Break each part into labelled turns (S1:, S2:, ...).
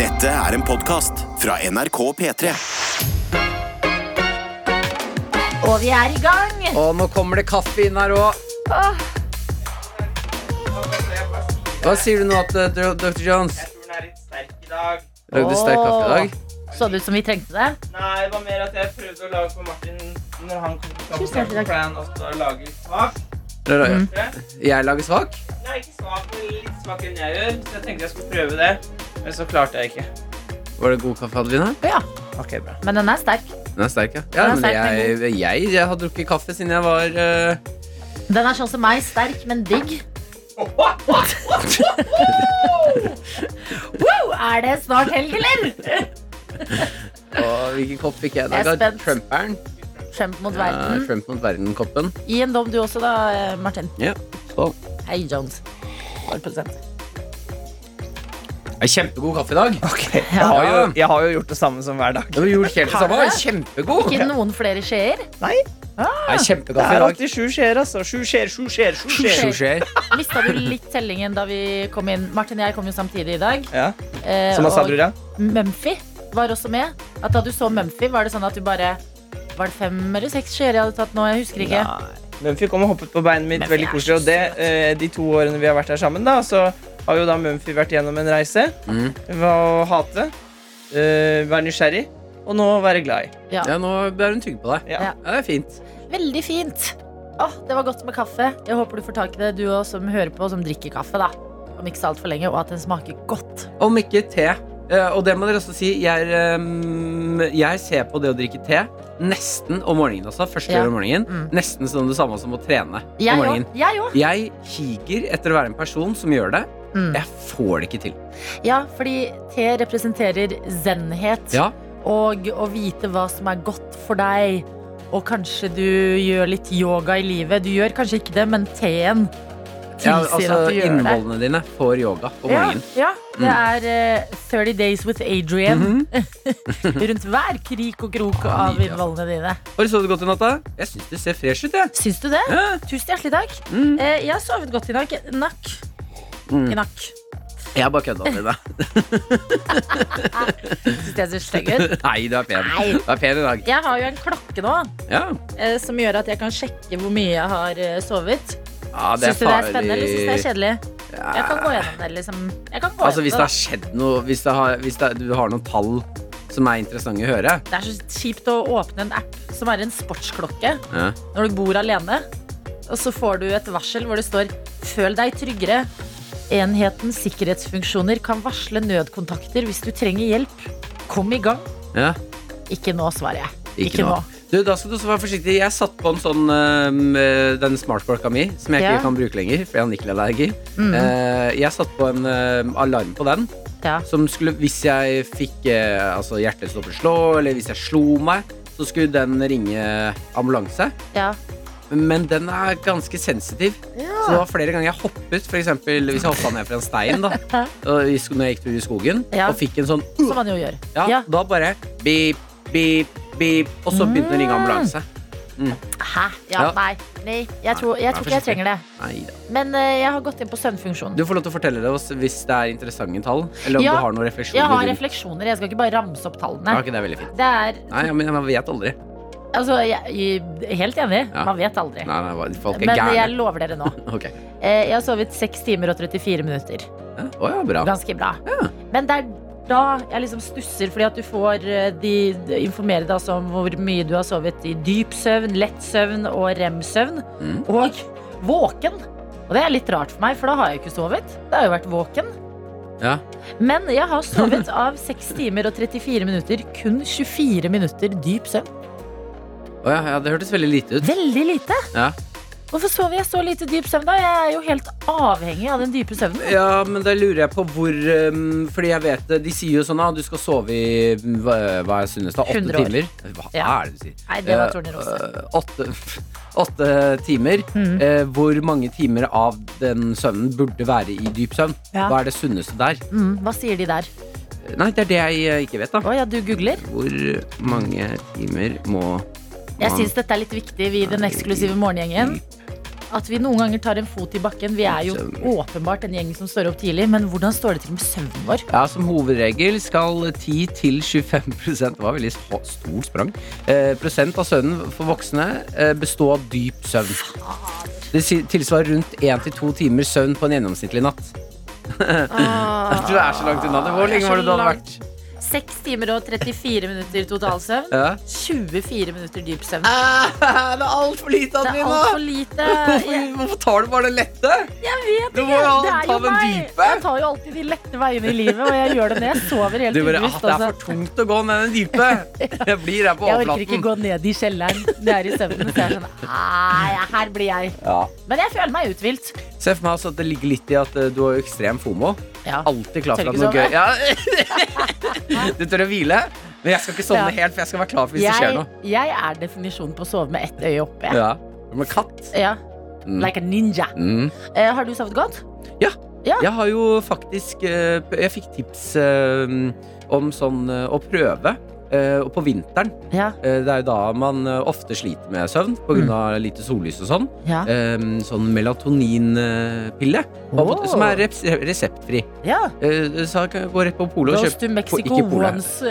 S1: Dette er en podcast fra NRK P3.
S2: Og vi er i gang!
S3: Og nå kommer det kaffe inn her òg. Hva sier du nå, at, eh, dr- Dr. Jones?
S4: Jeg tror den er litt sterk i dag.
S3: Lagde sterk kaffe i dag?
S2: Så det ut som vi trengte det?
S4: Nei, det var mer at jeg prøvde å lage for Martin når han kom på
S2: Tusen hjertelig takk.
S4: kampen, plan ofte å lage litt svak.
S3: Eller, eh,
S2: Mm.
S3: Jeg lager svak?
S4: Nei, ikke svak, men litt svakere enn jeg gjør. Så jeg tenkte jeg skulle prøve det, men så klarte jeg ikke.
S3: Var det god kaffe, Adelina?
S2: Ja,
S4: Ok, bra.
S2: men den er sterk.
S3: Den er sterk, ja. ja
S2: Den er
S3: men
S2: sterk,
S3: jeg, jeg, jeg har drukket kaffe siden jeg var eh,
S2: Den er sånn som meg, sterk, men digg. Wow, er det snart helg, eller?
S3: og Hvilken kopp fikk jeg i
S2: Jeg
S3: dag?
S2: er
S3: da?
S2: spent.
S3: Trumperen?
S2: Kjemp mot
S3: Ja,
S2: verden.
S3: Trump mot verden-koppen.
S2: Gi en dom du også, da, eh, Martin.
S3: Ja. Skål.
S2: Hei, Jones. Vår produsent.
S3: Det er Kjempegod kaffe i dag.
S4: Jeg har, jo, jeg har jo gjort det samme som hver dag.
S3: Det var gjort helt det samme. Det er Kjempegod.
S2: Ikke noen flere skjeer?
S3: Det er
S4: Det
S3: kjempekaffe i
S4: er
S3: dag.
S4: alltid sju skjer, altså. Sju skjer, sju skjer, sju skjer.
S3: Sju skjer.
S2: Mista du litt tellingen da vi kom inn? Martin og jeg kom jo samtidig i dag.
S4: Ja,
S2: eh,
S4: som han sa,
S2: og-
S4: bror, ja.
S2: Mumphy var også med. At da du så Mumphy, var det sånn at du bare Var det fem eller seks skjeer jeg hadde tatt nå? Jeg husker ikke.
S4: Mumphy kom og hoppet på beinet mitt
S2: Mumphy
S4: veldig
S2: er så
S4: koselig. Og det, eh, de to årene vi har vært her sammen, da, så har jo da Mumphy vært gjennom en reise.
S3: Mm.
S4: Ved å hate, eh, være nysgjerrig, og nå være glad i.
S2: Ja.
S3: Ja, nå bærer hun tygg på deg.
S4: Ja.
S2: Ja.
S3: Ja, det er fint.
S2: Veldig fint. Åh, det var godt med kaffe. Jeg håper du får tak i det, du òg som hører på, som drikker kaffe, da. Om ikke så altfor lenge, og at den smaker godt.
S3: Om ikke te. Eh, og det må dere også si. Jeg, er, ehm, jeg ser på det å drikke te nesten om morgenen også. Første
S2: Ja.
S3: gang om morgenen.
S2: Mm.
S3: Nesten som det samme som å trene
S2: Jeg
S3: om morgenen.
S2: òg. Jeg òg.
S3: Jeg higer etter å være en person som gjør det.
S2: Mm.
S3: Jeg får det ikke til.
S2: Ja, fordi te representerer zen-het.
S3: Ja,
S2: Og å vite hva som er godt for deg. Og kanskje du gjør litt yoga i livet. Du gjør kanskje ikke det, men teen
S3: ja
S2: tilsier
S3: altså
S2: at du gjør det.
S3: Innvollene dine får yoga om
S2: Ja,
S3: morgenen. Mm.
S2: ja. Det er eh, 30 Days with Adrian
S3: Mhm.
S2: rundt hver krik og krok
S3: Ah,
S2: av
S3: nydelig, ass.
S2: innvollene dine.
S3: Har du sovet godt i natt? da? Jeg syns du ser fresh ut. jeg.
S2: Syns du det?
S3: Ja.
S2: Tusen hjertelig takk.
S3: Mm.
S2: Eh, jeg har sovet godt i dag. Nakk.
S3: Mm.
S2: I nakk.
S3: Jeg har bare kødda med deg.
S2: Syns jeg ser stygg ut.
S3: Nei, du er pen.
S2: Nei.
S3: Du er pen i dag.
S2: Jeg har jo en klokke nå
S3: Ja,
S2: eh, som gjør at jeg kan sjekke hvor mye jeg har eh, sovet.
S3: ja det er
S2: Syns du det er spennende, eller syns du det er
S3: farlig.
S2: kjedelig?
S3: Ja.
S2: Jeg kan gå gjennom det, liksom. Jeg kan gå
S3: Altså Hvis det
S2: gjennom
S3: har skjedd noe Hvis, det har, hvis det, du har noen tall som er interessante å høre
S2: det. Det er så kjipt å åpne en app som er en sportsklokke
S3: ja.
S2: når du bor alene, og så får du et varsel hvor det står 'føl deg tryggere'. Enhetens sikkerhetsfunksjoner kan varsle nødkontakter hvis du trenger hjelp. Kom i gang.
S3: Ja,
S2: Ikke nå, svarer jeg.
S3: ikke, nå. Du, da skal du også være forsiktig. Jeg satt på en sånn øhm, øh, Den smartklokka mi, som jeg
S2: Ja.
S3: ikke kan bruke lenger, fordi jeg har nikkelallergi.
S2: Mm.
S3: Eh, jeg satt på en øhm, alarm på den
S2: Ja.
S3: som skulle Hvis jeg fikk eh, altså hjertet stoppet å slå, eller hvis jeg slo meg, så skulle den ringe ambulanse.
S2: ja.
S3: Men den er ganske sensitiv. Så det var flere ganger jeg hoppet, f.eks. hvis jeg hoppa ned fra en stein da og i sk- Når jeg gikk tur i skogen,
S2: Ja.
S3: og fikk en sånn
S2: Som man jo gjør.
S3: Ja,
S2: Ja.
S3: da bare beep, beep, beep, og så begynte den å ringe ambulanse.
S2: Mm. Hæ? Ja,
S3: Ja.
S2: nei. nei. Jeg tror, jeg
S3: Nei,
S2: tror ikke jeg
S3: forsiktig.
S2: trenger det.
S3: Neida.
S2: Men eh, jeg har gått inn på søvnfunksjonen.
S3: Du får lov til å fortelle det oss hvis det er interessante tall, eller om
S2: Ja,
S3: du har noen refleksjoner.
S2: Jeg har
S3: rundt-
S2: refleksjoner. Jeg skal ikke bare ramse opp
S3: Ja,
S2: tallene.
S3: ok, det er veldig fint.
S2: Det er
S3: Nei, ja, men jeg vet aldri.
S2: Altså, jeg, jeg helt enig.
S3: Ja.
S2: Man vet aldri.
S3: Nei, nei, hva- folk er
S2: Men jeg
S3: gærne.
S2: lover dere nå.
S3: Ok.
S2: Eh, Jeg har sovet 6 timer og 34 minutter.
S3: Ja, Å ja, bra.
S2: Ganske bra. Men det er da jeg liksom stusser, fordi at du får eh, de, de informere deg også om hvor mye du har sovet i dyp søvn, lett søvn og rem-søvn.
S3: Mm.
S2: Og våken. Og det er litt rart for meg, for da har jeg jo ikke sovet. Da har jeg jo vært våken.
S3: Ja.
S2: Men jeg har sovet av 6 timer og 34 minutter kun 24 minutter dyp søvn.
S3: Å ja, ja, det hørtes veldig lite ut.
S2: Veldig lite.
S3: Ja.
S2: Hvorfor sover jeg så lite dyp søvn da? Jeg er jo helt avhengig av den dype søvnen.
S3: Ja, men da lurer jeg på hvor um, Fordi jeg vet det, de sier jo sånn at du skal sove i mm, hva, hva er Sunnestad?
S2: 100
S3: Åtte
S2: år.
S3: timer? Hva
S2: Ja.
S3: er det du sier?
S2: Nei, det var
S3: Eh,
S2: tornerose.
S3: eh, åtte, åtte timer.
S2: Mm.
S3: Eh, hvor mange timer av den søvnen burde være i dyp søvn?
S2: Ja.
S3: Hva er det sunneste der?
S2: Mm, hva sier de der?
S3: Nei, det er det jeg eh, ikke vet, da.
S2: Å ja, du googler?
S3: Hvor mange timer må
S2: Jeg
S3: man
S2: syns dette er litt viktig, vi i den eksklusive morgengjengen. at vi noen ganger tar en fot i bakken. Vi er jo åpenbart en gjeng som står opp tidlig, men hvordan står det til med søvnen vår?
S3: Ja, Som hovedregel skal 10-25 Det var veldig sp- stort sprang. Eh, prosent av søvnen for voksne eh, bestå av dyp søvn. Det si- tilsvarer rundt 1-2 timer søvn på en gjennomsnittlig natt. Du er så langt unna det.
S2: Ah. Jeg
S3: Hvor
S2: er
S3: lenge
S2: så
S3: var det du hadde
S2: langt.
S3: vært?
S2: Seks timer og 34 minutter totalsøvn.
S3: Ja.
S2: 24 minutter dyp søvn.
S3: Ah, det er altfor lite,
S2: Det er altfor
S3: Adelina!
S2: lite.
S3: Hvorfor,
S2: Jeg,
S3: hvorfor tar du bare det lette?
S2: jeg vet
S3: Du
S2: ikke.
S3: må jo
S2: Det er
S3: ta
S2: jo
S3: den
S2: meg.
S3: dype.
S2: Jeg tar jo alltid de lette veiene i livet, og jeg gjør det når jeg sover helt
S3: Du bare, ah,
S2: ubevisst.
S3: Det er
S2: altså.
S3: for tungt å gå ned den dype. Jeg blir her på
S2: Jeg orker ikke
S3: overflaten.
S2: gå ned i kjelleren når jeg er i søvnen. Så jeg er sånn, «Nei, her blir jeg.
S3: Ja.
S2: Men jeg føler meg uthvilt.
S3: Se for meg altså at det ligger litt i at eh, du har jo ekstrem fomo.
S2: Ja.
S3: Alltid klar for
S2: Tør
S3: at
S2: ikke
S3: noe gøy ja. Du tør å hvile, men jeg skal ikke sovne
S2: Ja.
S3: helt, for jeg skal være klar for hvis det skjer
S2: Jeg,
S3: noe.
S2: jeg er definisjonen på å sove med ett øye oppe. jeg.
S3: Ja. Med katt.
S2: Ja.
S3: Mm.
S2: Like a ninja.
S3: Mm.
S2: Eh, har du sovet godt?
S3: Jeg har jo faktisk eh, p- Jeg fikk tips eh, om sånn eh, å prøve. eh, Og på vinteren.
S2: Ja.
S3: eh, Det er jo da man eh, ofte sliter med søvn pga. lite sollys og sånn.
S2: Mm. Ja.
S3: Eh, Sånn melatoninpille.
S2: Åh.
S3: Som er reps- reseptfri.
S2: ja.
S3: Eh, Så jeg kan gå rett på polet og
S2: Goes
S3: kjøpe
S2: to Mexico
S3: ikke polet.
S2: once.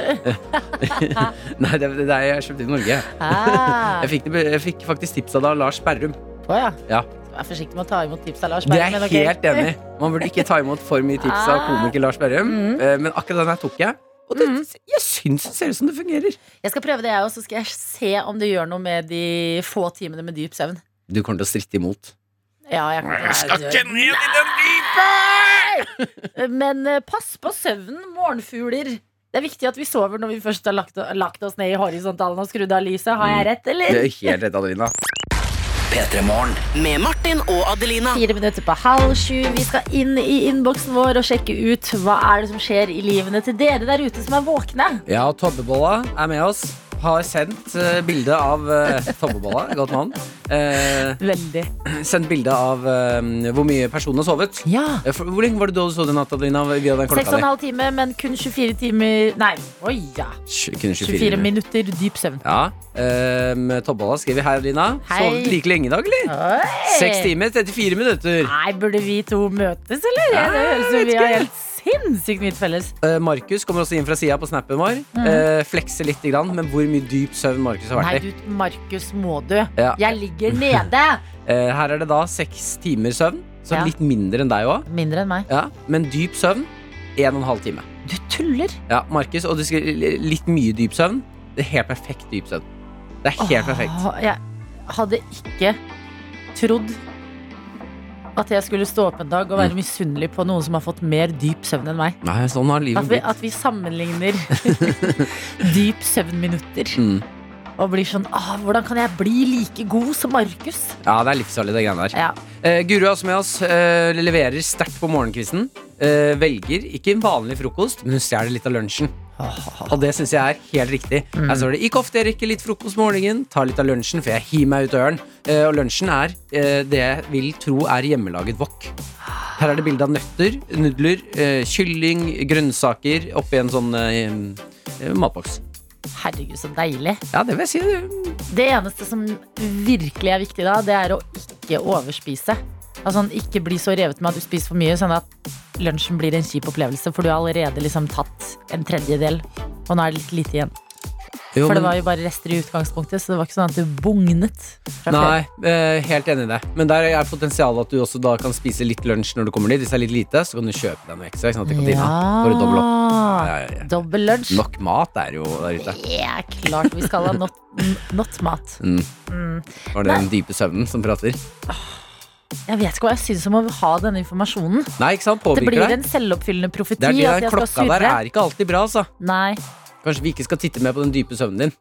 S3: Nei, det, det er jeg kjøpte i Norge.
S2: Ah.
S3: Jeg fikk, det, jeg fikk faktisk tips av da Lars Berrum.
S2: Å ja.
S3: Ja.
S2: Vær forsiktig med å ta imot tips av Lars
S3: Det
S2: Berg.
S3: er jeg helt enig i. Man burde ikke ta imot for mye tips av komiker Lars Berrum.
S2: Mm.
S3: eh, Men akkurat den her tok jeg. Og det,
S2: Mm.
S3: jeg syns det ser ut som det fungerer.
S2: Jeg skal prøve det, jeg òg, så skal jeg se om det gjør noe med de få timene med dyp søvn.
S3: Du kommer til å stritte imot.
S2: Ja, jeg kommer til å være død.
S3: ned i den dype!
S2: Men eh, pass på søvnen, morgenfugler. Det er viktig at vi sover når vi først har lagt, lagt oss ned i horisontalen og skrudd av lyset. Har jeg rett,
S3: Du
S2: eller?
S3: Mm. er helt redd, Adelina.
S5: Med Martin og Adelina.
S2: Fire minutter på halv sju. Vi skal inn i innboksen vår og sjekke ut hva er det som skjer i livene til dere der ute som er våkne.
S3: Ja, Tobbebolla er med oss. Har sendt eh, bilde av eh, Tobbebolla, godt navn. Eh,
S2: Veldig.
S3: sendt bilde av eh, hvor mye personen har sovet.
S2: Ja.
S3: Eh, for- Hvor lenge var det da du så den natta, Adelina? Via
S2: Seks
S3: den klokka
S2: og en
S3: di?
S2: halv time, men kun 24 timer Nei, oi ja.
S3: Sj- kun
S2: 24 minutter dyp søvn.
S3: Ja. Um, Tobbala skriver hei, Adelina.
S2: Hei.
S3: Sovet like lenge i dag, eller?
S2: Oi.
S3: Seks timer, 34 minutter.
S2: Nei, burde vi to møtes, eller? det høres ut som vi har helt sinnssykt mye felles.
S3: Eh, Markus kommer også inn fra sida på snappen vår. Eh, flekser litt, grann, men hvor mye dyp søvn Markus har
S2: Mhm. Nei,
S3: vært i.
S2: du, Markus, må du.
S3: Ja.
S2: Jeg ligger nede.
S3: Eh, her er det da seks timer søvn, så
S2: Ja.
S3: litt mindre enn deg òg.
S2: Mindre enn meg.
S3: Ja. Men dyp søvn, en og en halv time.
S2: Du tuller.
S3: Ja, Markus, og du skriver li- litt mye dyp søvn. Det er helt perfekt dyp søvn. Det er helt perfekt.
S2: Åh, Ah, Jeg hadde ikke trodd at jeg skulle stå opp en dag og være
S3: Mm.
S2: misunnelig på noen som har fått mer dyp søvn enn meg.
S3: Nei, sånn har
S2: At
S3: livet
S2: Altså, vi,
S3: blitt.
S2: at vi sammenligner dyp søvnminutter
S3: Mm.
S2: og blir sånn ah, Hvordan kan jeg bli like god som Markus?
S3: Ja, det er livsfarlig, det greiene der.
S2: Ja.
S3: Eh, Guru er også med oss. Eh, leverer sterkt på morgenkvisten. Eh, velger ikke en vanlig frokost, men hun stjeler litt av lunsjen. Og det syns jeg er helt riktig.
S2: Mm.
S3: Her står det ikke ofte jeg rekker litt frokost om morgenen, tar litt av lunsjen før jeg hiver meg ut døren. Eh, og lunsjen er eh, det jeg vil tro er hjemmelaget wok. Her er det bilde av nøtter, nudler, eh, kylling, grønnsaker oppi en sånn eh, eh, matboks.
S2: Herregud, så deilig.
S3: Ja, det vil jeg si. det-
S2: Det eneste som virkelig er viktig da, det er å ikke overspise. Altså sånn, Ikke bli så revet med at du spiser for mye, sånn at lunsjen blir en kjip opplevelse. For du har allerede liksom tatt en tredjedel, og nå er det litt lite igjen.
S3: Jo,
S2: For det
S3: men-
S2: var jo bare rester i utgangspunktet, så det var ikke sånn at du bugnet. fra før.
S3: Nei, eh, helt enig i det. Men der er potensialet at du også da kan spise litt lunsj når du kommer dit. Hvis det er litt lite, så kan du kjøpe deg noe ekstra. Ikke sant, i kantina. For å doble opp. Ja,
S2: Ja.
S3: ja, ja.
S2: Dobbel lunsj.
S3: Nok mat er jo der ute.
S2: Ja, klart vi skal ha not, not mat.
S3: Var det den dype søvnen som prater?
S2: Jeg vet ikke hva jeg syns om å ha denne informasjonen.
S3: Nei, ikke sant?
S2: Det
S3: Påvirker
S2: blir
S3: deg.
S2: en selvoppfyllende profeti.
S3: Det er
S2: at
S3: det der
S2: jeg skal
S3: klokka der
S2: surre.
S3: er ikke alltid bra, altså.
S2: Nei.
S3: Kanskje vi ikke skal titte mer på den dype søvnen din.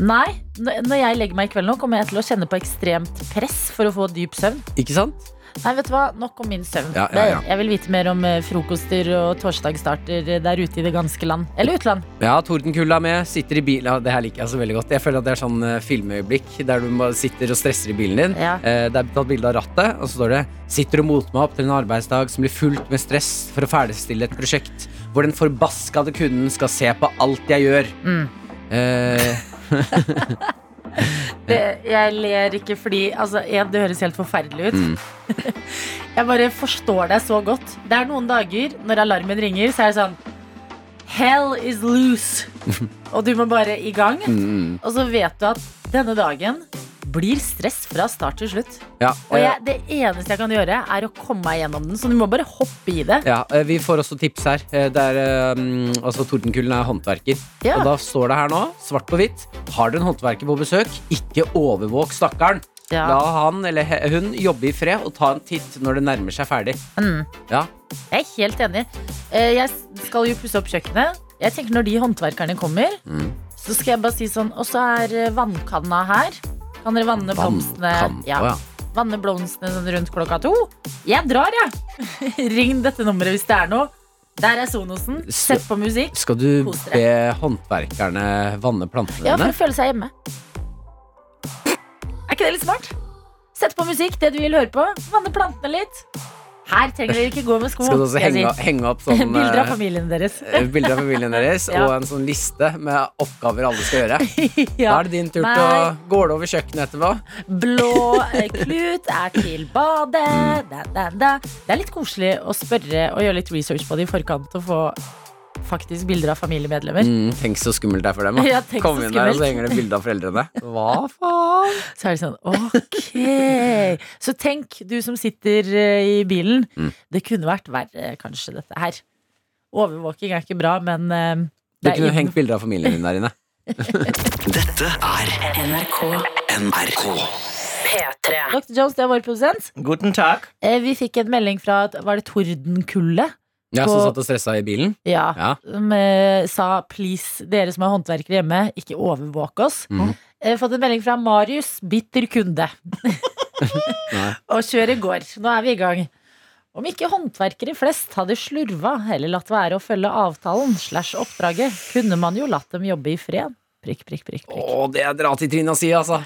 S2: Nei, n- når jeg legger meg i kveld nå, kommer jeg til å kjenne på ekstremt press for å få dyp søvn.
S3: Ikke sant?
S2: Nei, vet du hva? Nok om min søvn.
S3: Ja, ja, ja.
S2: Det- Jeg vil vite mer om eh, frokoster og torsdagsstarter eh, der ute i det ganske land. Eller utland.
S3: Ja, Tordenkulla er med, sitter i bilen ja, Det her liker jeg så veldig godt. Jeg føler at det er sånn eh, filmøyeblikk der du bare sitter og stresser i bilen din.
S2: Ja.
S3: Eh, Det er tatt bilde av rattet, og så står det Sitter og moter meg opp til en arbeidsdag som blir fullt med stress for å ferdigstille et prosjekt hvor den forbaskede
S2: Mm.
S3: kunden skal se på alt jeg gjør. Eh,
S2: Det, jeg ler ikke fordi altså, en, Det høres helt forferdelig ut.
S3: Mm.
S2: jeg bare forstår deg så godt. Det er noen dager når alarmen ringer, så er det sånn Hell is loose. og du må bare i gang.
S3: Mm,
S2: Og så vet du at denne dagen blir stress fra start til slutt.
S3: Ja,
S2: Og
S3: eh,
S2: jeg, det eneste jeg kan gjøre, er å komme meg gjennom den. Så du må bare hoppe i det.
S3: Ja, eh, Vi får også tips her. Eh, Det er, eh, mm, altså Tordenkullen er håndverker.
S2: Ja.
S3: Og da står det her nå, svart på hvitt, har du en håndverker på besøk, ikke overvåk stakkaren.
S2: Ja.
S3: La han eller he- hun jobbe i fred og ta en titt når det nærmer seg ferdig.
S2: Mm.
S3: Ja,
S2: Jeg er helt enig. Eh, Jeg skal jo pusse opp kjøkkenet. Jeg tenker Når de håndverkerne kommer,
S3: Mm.
S2: så skal jeg bare si sånn Og så er eh, vannkanna her. Kan dere vanne blomstene?
S3: Vannkann.
S2: Ja.
S3: Å, ja.
S2: Vanne blomstene sånn rundt klokka to. Jeg drar, jeg. Ring dette nummeret hvis det er noe. Der er Sonosen. Sett på musikk.
S3: Skal du
S2: Kos dere.
S3: be håndverkerne vanne plantene
S2: Ja, for
S3: dine?
S2: å føle seg hjemme. Er ikke det litt smart? Sett på musikk, det du vil høre på. Vanne plantene litt. Her trenger dere ikke gå med sko.
S3: Skal du også
S2: skal jeg
S3: henge,
S2: si.
S3: henge opp sånn
S2: Bilder av
S3: eh,
S2: familien deres.
S3: bilder av familien deres
S2: Ja.
S3: og en sånn liste med oppgaver alle skal gjøre? Da
S2: Ja.
S3: er det din tur til
S2: Nei.
S3: å Går det over kjøkkenet etterpå?
S2: Blå eh, klut er til badet. Da, da, da. Det er litt koselig å spørre og gjøre litt research på det i forkant og få faktisk bilder av familiemedlemmer.
S3: Mm, tenk så skummelt det er for dem. da.
S2: Ja, tenk så
S3: Kom inn der, og
S2: skummelt.
S3: så henger det bilde av foreldrene. Hva faen?
S2: Så er det sånn, ok Så tenk, du som sitter eh, i bilen
S3: Mm.
S2: Det kunne vært verre, kanskje, dette her Overvåking er ikke bra, men eh,
S3: Du
S2: det er
S3: kunne
S2: inn-
S3: hengt bilder av familien din der inne.
S1: Dette er NRK.
S2: Dr. Jones, det er vår produsent
S4: Guten Tag.
S2: Eh, Vi fikk en melding fra, at- var det Tordenkulle?
S3: Ja, Som
S2: På-
S3: satt og stressa i bilen.
S2: Ja,
S3: Ja.
S2: som eh, sa 'please, dere som er håndverkere hjemme, ikke overvåk oss'.
S3: Mhm.
S2: Eh, fått en melding fra Marius, bitter kunde. og kjøret går. Nå er vi i gang. Om ikke håndverkere flest hadde slurva eller latt være å følge avtalen slash oppdraget, kunne man jo latt dem jobbe i fred. Prikk, prikk, prikk, prikk.
S3: Å, det er dra til Trina si, altså.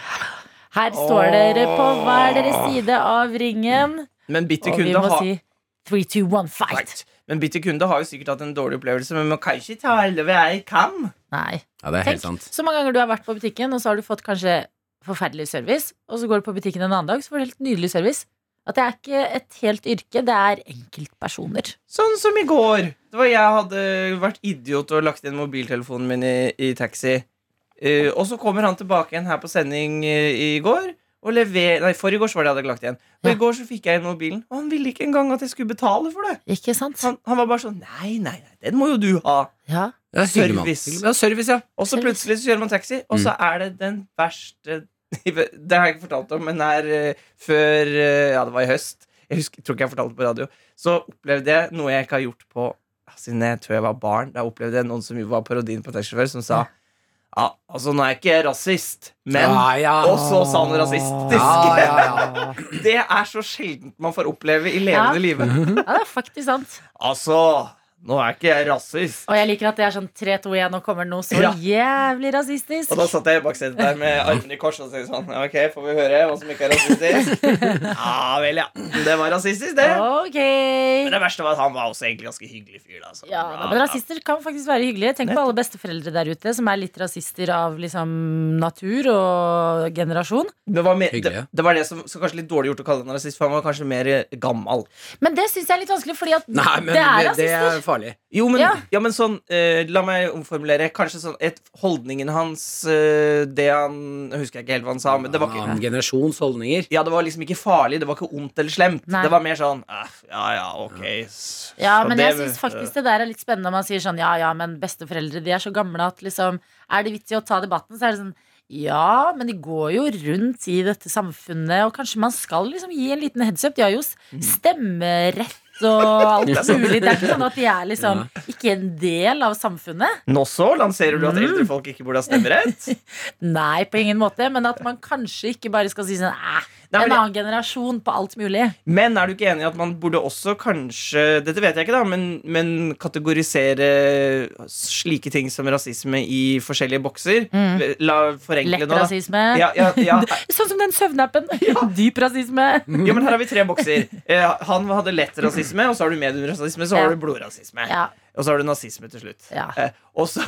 S2: Her står dere på hver deres side av ringen,
S4: Men bitter
S2: og vi
S4: kunde,
S2: må
S4: ha,
S2: si three, two, one, fight.
S4: men bitter kunde har jo sikkert hatt en dårlig opplevelse, men man kan ikke ta alle hver jeg kan.
S2: Nei.
S3: Ja, det er
S2: Tenk
S3: helt sant.
S2: så mange ganger du har vært på butikken, og så har du fått kanskje forferdelig service, og så går du på butikken en annen dag, så får du helt nydelig service. At det er ikke et helt yrke, det er enkeltpersoner.
S4: Sånn som i går. Det var jeg hadde vært idiot og lagt inn mobiltelefonen min i, i taxi. Eh, og så kommer han tilbake igjen her på sending eh, i går. Og lever, nei, forrige gårs var det jeg hadde lagt igjen. Og
S2: Ja.
S4: i går så fikk jeg inn mobilen, og han ville ikke engang at jeg skulle betale for det.
S2: Ikke sant?
S4: Han, han var bare sånn Nei, nei, nei, den må jo du ha.
S2: Ja.
S3: Ja, hyggelig, mann. Mm.
S4: Service.
S3: Ja, service, ja.
S4: Og så plutselig så kjører man taxi, og så er det den verste Det har jeg ikke fortalt om, men her eh, før eh, Ja, det var i høst. Jeg husker, tror ikke jeg fortalte det på radio. Så opplevde jeg noe jeg ikke har gjort på ja, siden jeg tror jeg var barn. Da opplevde jeg noen som var parodien på taxisjåfør, som sa Ja, altså, nå er jeg ikke rasist, men
S3: ja, ja.
S4: Og så sånn sa han rasistisk.
S3: Ah. Ja, ja, ja.
S4: Det er så sjeldent man får oppleve i levende livet.
S2: ja, det er faktisk sant.
S4: Altså, nå er ikke jeg rasist.
S2: Og jeg liker at det er sånn 3, 2, 1, nå kommer det noe så
S4: Ja.
S2: jævlig rasistisk.
S4: Og da satt jeg i baksetet der med armene i kors og tenkte sånn Ok, får vi høre hva som ikke er rasistisk? Ja vel, ja. Det var rasistisk, det.
S2: Ok.
S4: Men det verste var at han var også egentlig ganske hyggelig fyr. Da, så.
S2: Ja, da, men rasister kan faktisk være hyggelige. Tenk på alle besteforeldre der ute som er litt rasister av liksom natur og generasjon.
S4: det, var mer,
S3: Hyggelig,
S4: det,
S3: ja.
S4: det var det som så kanskje litt dårlig gjort å kalle han rasist, for han var kanskje mer eh, gammel.
S2: Men det syns jeg er litt vanskelig, fordi at
S3: Nei, men
S2: det er
S3: det, det
S2: rasister.
S3: er farlig.
S4: Jo, men, ja.
S2: Ja.
S4: men sånn eh, La meg omformulere. Kanskje sånn et, Holdningen hans eh, Det han Jeg husker ikke helt hva han sa, men det var ikke
S3: Annen generasjons holdninger.
S4: ja, det var liksom ikke farlig, det var ikke ondt eller slemt.
S2: Nei.
S4: Det var mer sånn eh, Ja, ja, ok. s-
S2: Ja,
S4: så
S2: men
S4: det-
S2: jeg synes faktisk det der er litt spennende når man sier sånn ja, ja, men besteforeldre de er så gamle at liksom Er det vits i å ta debatten? Så er det sånn ja, men de går jo rundt i dette samfunnet, og kanskje man skal liksom gi en liten heads up. De har jo s-
S4: Mm.
S2: stemmerett og alt mulig. Det er ikke sånn at de er liksom ikke en del av samfunnet.
S4: Nå så lanserer du at eldre
S2: Mm.
S4: folk ikke burde ha stemmerett.
S2: Nei, på ingen måte. Men at man kanskje ikke bare skal si sånn æh,
S4: Nei,
S2: en
S4: men det-
S2: annen generasjon på alt mulig.
S4: Men er du ikke enig i at man burde også kanskje Dette vet jeg ikke, da, men, men kategorisere slike ting som rasisme i forskjellige bokser? La forenkle
S2: Mm. Lett
S4: nå, da.
S2: rasisme.
S4: Ja, ja, ja.
S2: Sånn som den søvnappen. Dyp rasisme.
S4: ja, men her har vi tre bokser. Eh, han hadde lett rasisme, og så har du mediumrasisme, så
S2: Ja.
S4: har du blodrasisme.
S2: Ja.
S4: Og så har du nazisme til slutt.
S2: Ja.
S4: Eh, og så,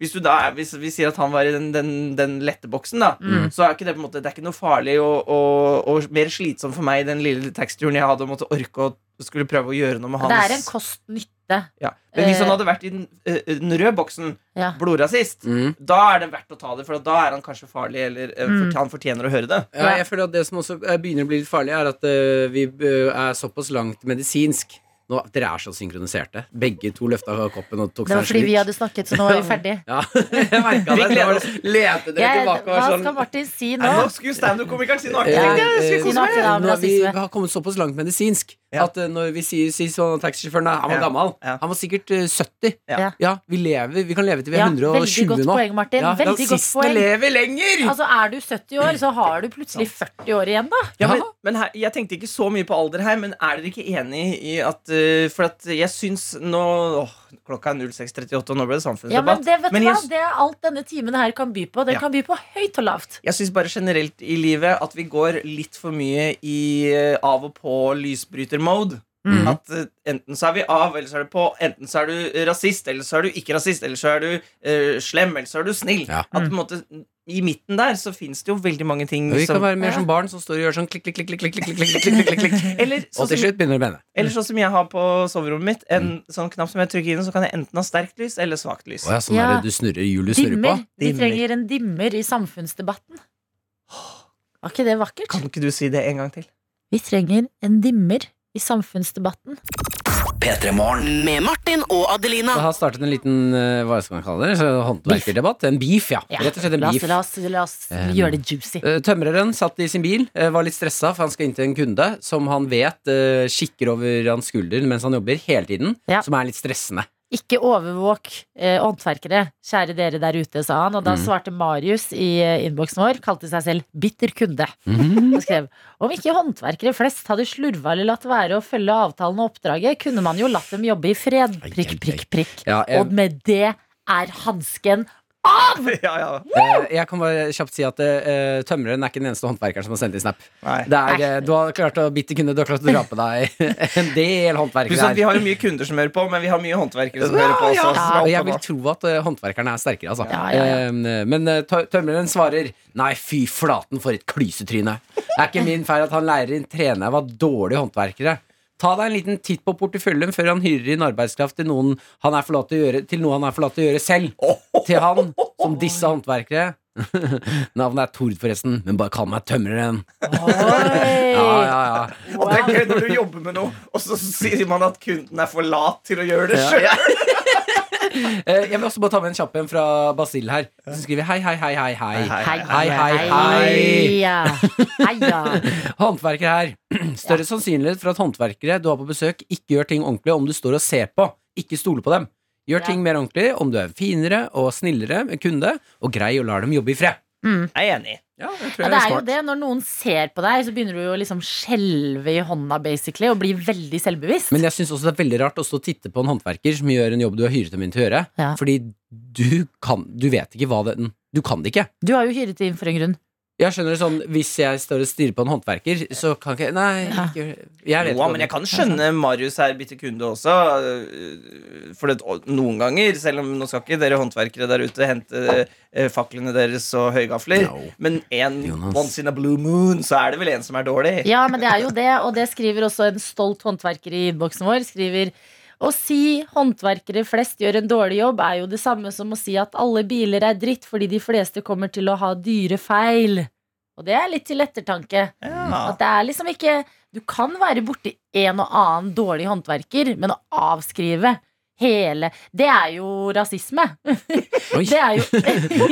S4: hvis, du da, er- hvis vi sier at han var i den, den, den lette boksen, da,
S2: Mm.
S4: så er ikke det på en måte Det er ikke noe farlig og, og, og mer slitsomt for meg den lille taxituren jeg hadde, å måtte orke å skulle prøve å gjøre noe med
S2: Det
S4: hans
S2: er en kost-nytte.
S4: ja. Men hvis han
S2: eh,
S4: hadde vært i den, eh, den røde boksen,
S2: Ja.
S4: blodrasist,
S3: Mm.
S4: da er det verdt å ta det, for da er han kanskje farlig, eller eh,
S2: Mm.
S4: fort- han fortjener å høre det.
S3: Ja, jeg føler at Det som også eh, begynner å bli litt farlig, er at eh, vi eh, er såpass langt medisinsk. Nå, Dere er så synkroniserte. Begge to løfta koppen og
S2: Det
S3: tok seg
S2: var
S3: en
S2: fordi
S3: slurk.
S2: vi hadde snakket, så nå er vi ferdige.
S3: Ja, jeg merket det.
S4: Vi gleder oss.
S3: Lete dere
S2: Jeg,
S3: tilbake
S2: hva
S3: og var
S2: skal
S3: sånn
S2: Martin si nå?
S4: Nei, nå skulle standup-komikeren si noe artig!
S3: eh,
S2: Ja.
S4: tenkte jeg, jeg
S2: Si
S4: skulle kose
S2: noe
S4: meg.
S2: artig, da.
S3: nå har vi
S2: rasisme.
S3: har kommet såpass langt medisinsk
S4: Ja.
S3: at eh, når vi sier, sier sånn at taxisjåføren er Han var
S4: Ja.
S3: gammel.
S4: Ja.
S3: Han var sikkert eh, 70.
S2: Ja.
S3: Ja, vi lever. Vi kan leve til vi
S2: Ja,
S3: er
S2: veldig
S3: 120
S2: godt
S3: nå.
S2: poeng, Martin.
S3: Ja,
S2: veldig godt
S3: rasistene
S2: poeng.
S3: lever lenger!
S2: Altså, er du 70 år, så har du plutselig 40 år igjen, da.
S4: Ja, men, men her, Jeg tenkte ikke så mye på alder her, men er dere ikke enig i at eh, For at jeg syns nå åh, Klokka er 06.38, og nå ble det
S2: Ja, men
S4: samfunnsdebatt.
S2: det vet
S4: Men
S2: du hva,
S4: jeg-
S2: det er alt denne timen her kan by på. Den
S4: Ja.
S2: kan by på høyt og lavt.
S4: jeg syns bare generelt i livet at vi går litt for mye i eh, av og på lysbryter-mode.
S2: Mm.
S4: At eh, Enten så er vi av, eller så er du på. Enten så er du rasist, eller så er du ikke rasist. Eller så er du eh, slem, eller så er du snill.
S3: Ja.
S4: At på en måte I midten der så fins det jo veldig mange ting
S3: Vi kan
S4: som
S3: være mer
S2: Mm. Ja.
S3: som barn som står og gjør sånn klikk, klikk, klikk, klikk, klikk, klikk, klikk, klikk, klikk, klikk, klikk.
S4: eller sånn
S3: Og til
S4: som-
S3: slutt begynner det å bende.
S4: eller sånn som jeg har på soverommet mitt. En sånn knapp som jeg trykker inn, så kan jeg enten ha sterkt lys eller svakt lys.
S3: Mm. Å ja, sånn
S2: Ja.
S3: er det du snurrer hjulet snurrer på?
S2: Dimmer. Vi
S4: Dimmer.
S2: trenger en dimmer i samfunnsdebatten. Var ikke det vakkert?
S4: Kan ikke du si det en gang til?
S2: Vi trenger en dimmer i samfunnsdebatten.
S1: P3morgen.
S5: Med Martin og
S3: Det
S5: Adelina.
S3: har startet en liten eh, hva skal man kalle det, så håndverkerdebatt. En beef, ja.
S2: Ja,
S3: Rett og slett en
S2: la oss,
S3: beef.
S2: la oss, la oss
S3: Um,
S2: gjøre det juicy.
S3: Eh, Tømreren satt i sin bil, eh, var litt stressa, for han skal inn til en kunde som han vet eh, kikker over hans skulder mens han jobber, hele tiden.
S2: Ja.
S3: Som er litt stressende.
S2: Ikke overvåk eh, håndverkere, kjære dere der ute, sa han. Og
S3: Mm.
S2: da svarte Marius i eh, innboksen vår, kalte seg selv bitter kunde.
S3: Mm.
S2: Og skrev om ikke håndverkere flest hadde slurva eller latt være å følge avtalen og oppdraget, kunne man jo latt dem jobbe i fred.
S3: ai,
S2: Prikk, prikk, prikk.
S3: Ja, jeg,
S2: Og med det er hansken
S3: Ah!
S4: ja, ja.
S3: eh, jeg kan bare kjapt si at eh, tømreren er ikke den eneste håndverkeren som har sendt inn snap.
S4: Nei.
S3: Det er, eh, du har klart å bitte kunde, du har klart å dra på deg en del
S4: Pluss at
S3: håndverkere
S4: vi
S3: her.
S4: har jo mye kunder som hører på, men vi har mye håndverkere som hører på også.
S3: Ja,
S4: som er
S3: og jeg vil
S4: opptatt av-
S3: tro at eh, håndverkerne er sterkere, altså.
S2: Ja, ja, ja.
S3: Eh, Men eh, tø- tømreren svarer Nei, fy flaten for et klysetryne. Det er ikke min feil at han lærer inn trenere var dårlige håndverkere. Ta deg en liten titt på porteføljen før han hyrer inn arbeidskraft til, noen han er forlatt til, å gjøre, til noe han er forlatt til å gjøre selv. Til han, som disse håndverkere. Navnet er Tord, forresten, men bare kall meg tømreren. Ja, ja, ja.
S4: Og det er gøy når du jobber med noe, og så sier man at kunden er for lat til å gjøre det sjøl.
S3: Eh, Jeg vil også bare ta med en kjapp en fra Basil her. Som skriver hei, hei, hei, hei, hei.
S2: Hei,
S3: Hei, hei, hei.
S2: Heia. Heia.
S3: Håndverkere her. Større sannsynlighet for at håndverkere du har på besøk, ikke gjør ting ordentlig om du står og ser på. Ikke stole på dem. Gjør
S2: Ja.
S3: ting mer ordentlig om du er finere og snillere med kunde, og grei og lar dem jobbe i fred.
S2: Mm.
S4: Jeg er enig.
S3: Ja, det
S2: Ja, det er jo det. Når noen ser på deg, så begynner du jo å liksom skjelve i hånda, basically, og bli veldig selvbevisst.
S3: Men jeg syns også det er veldig rart å stå og titte på en håndverker som gjør en jobb du har hyret dem inn til å gjøre,
S2: Ja.
S3: fordi du kan Du vet ikke hva den Du kan det ikke.
S2: Du har jo hyret inn for en grunn.
S3: Jeg skjønner det sånn, Hvis jeg står og stirrer på en håndverker, så kan ikke Nei,
S2: Ja.
S3: ikke, jeg vet
S4: Noa,
S3: ikke.
S4: men jeg kan skjønne Marius her, bitte kunde også. øh, For det, og noen ganger, selv om nå skal ikke dere håndverkere der ute hente eh, faklene deres og høygafler,
S3: No.
S4: men en,
S3: Jonas.
S4: once in a blue moon, så er det vel en som er dårlig.
S2: Ja, men det er jo det, og det skriver også en stolt håndverker i innboksen vår. Skriver å si håndverkere flest gjør en dårlig jobb, er jo det samme som å si at alle biler er dritt fordi de fleste kommer til å ha dyre feil. Og det er litt til ettertanke.
S4: Ja.
S2: At det er liksom ikke Du kan være borti en og annen dårlig håndverker, men å avskrive hele Det er jo rasisme.
S3: Oi.
S2: Det er jo,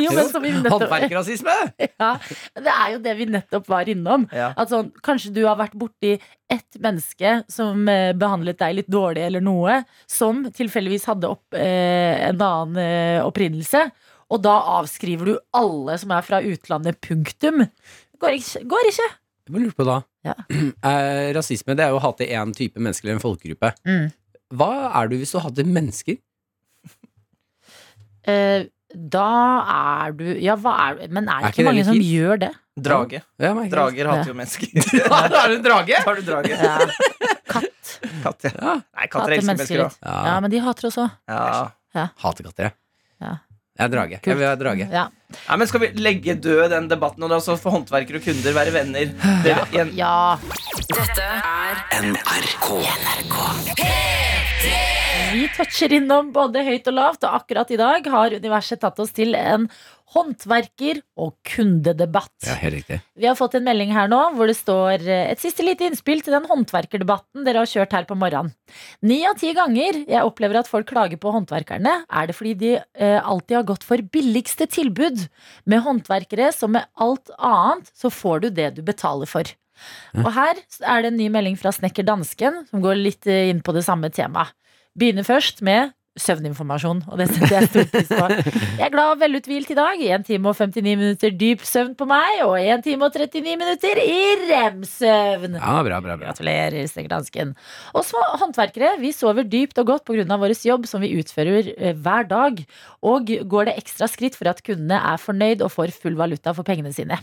S2: jo men som vi nettopp,
S3: Håndverkerrasisme!
S2: ja, det er jo det vi nettopp var innom.
S4: Ja.
S2: At sånn, kanskje du har vært borti ett menneske som eh, behandlet deg litt dårlig eller noe, som tilfeldigvis hadde opp, eh, en annen eh, opprinnelse, og da avskriver du alle som er fra utlandet, punktum. Går ikke. Går ikke.
S3: Jeg bare lurer på da
S2: Ja.
S3: eh, Rasisme det er jo å hate én type mennesker eller en folkegruppe.
S2: Mm.
S3: Hva er du hvis du hater mennesker?
S2: Eh, da er du Ja, hva er du? Men er det
S3: Er
S2: ikke,
S3: ikke det
S2: mange
S3: litt
S2: som
S3: gift?
S2: gjør det?
S4: Drage.
S3: Ja, jeg merker det.
S4: Drager hater jo mennesker.
S3: Har du en drage?
S4: Tar du drage?
S2: Ja. Katt.
S4: Katt, ja.
S3: Ja.
S4: Nei, katter
S2: Hater
S4: elsker
S2: mennesker
S4: mennesker òg.
S2: litt. Ja, men de hater oss òg.
S4: Ja.
S3: Hater katter, jeg.
S2: Ja.
S3: Jeg er drage. Jeg vil være drage.
S2: Ja.
S4: Ja, men skal vi legge død den debatten, og da så får håndverkere og kunder være venner? Det, igjen,
S2: ja.
S1: NRK.
S2: Vi toucher innom både høyt og lavt, og akkurat i dag har universet tatt oss til en håndverker- og kundedebatt.
S3: Ja, helt riktig.
S2: Vi har fått en melding her nå hvor det står eh, et siste lite innspill til den håndverkerdebatten dere har kjørt her på morgenen. Ni av ti ganger jeg opplever at folk klager på håndverkerne, er det fordi de eh, alltid har gått for billigste tilbud. Med håndverkere som med alt annet, så får du det du betaler for. Og her er det en ny melding fra Snekker Dansken som går litt eh, inn på det samme temaet. Begynner først med Søvninformasjon, og det setter jeg stor pris på. Jeg er glad og veluthvilt i dag. 1 time og 59 minutter dyp søvn på meg, og 1 time og 39 minutter i rem-søvn.
S3: Ja, bra, bra, bra.
S2: Gratulerer, snekkerdansken. Og små håndverkere, vi sover dypt og godt pga. vår jobb som vi utfører eh, hver dag. Og går det ekstra skritt for at kundene er fornøyd og får full valuta for pengene sine.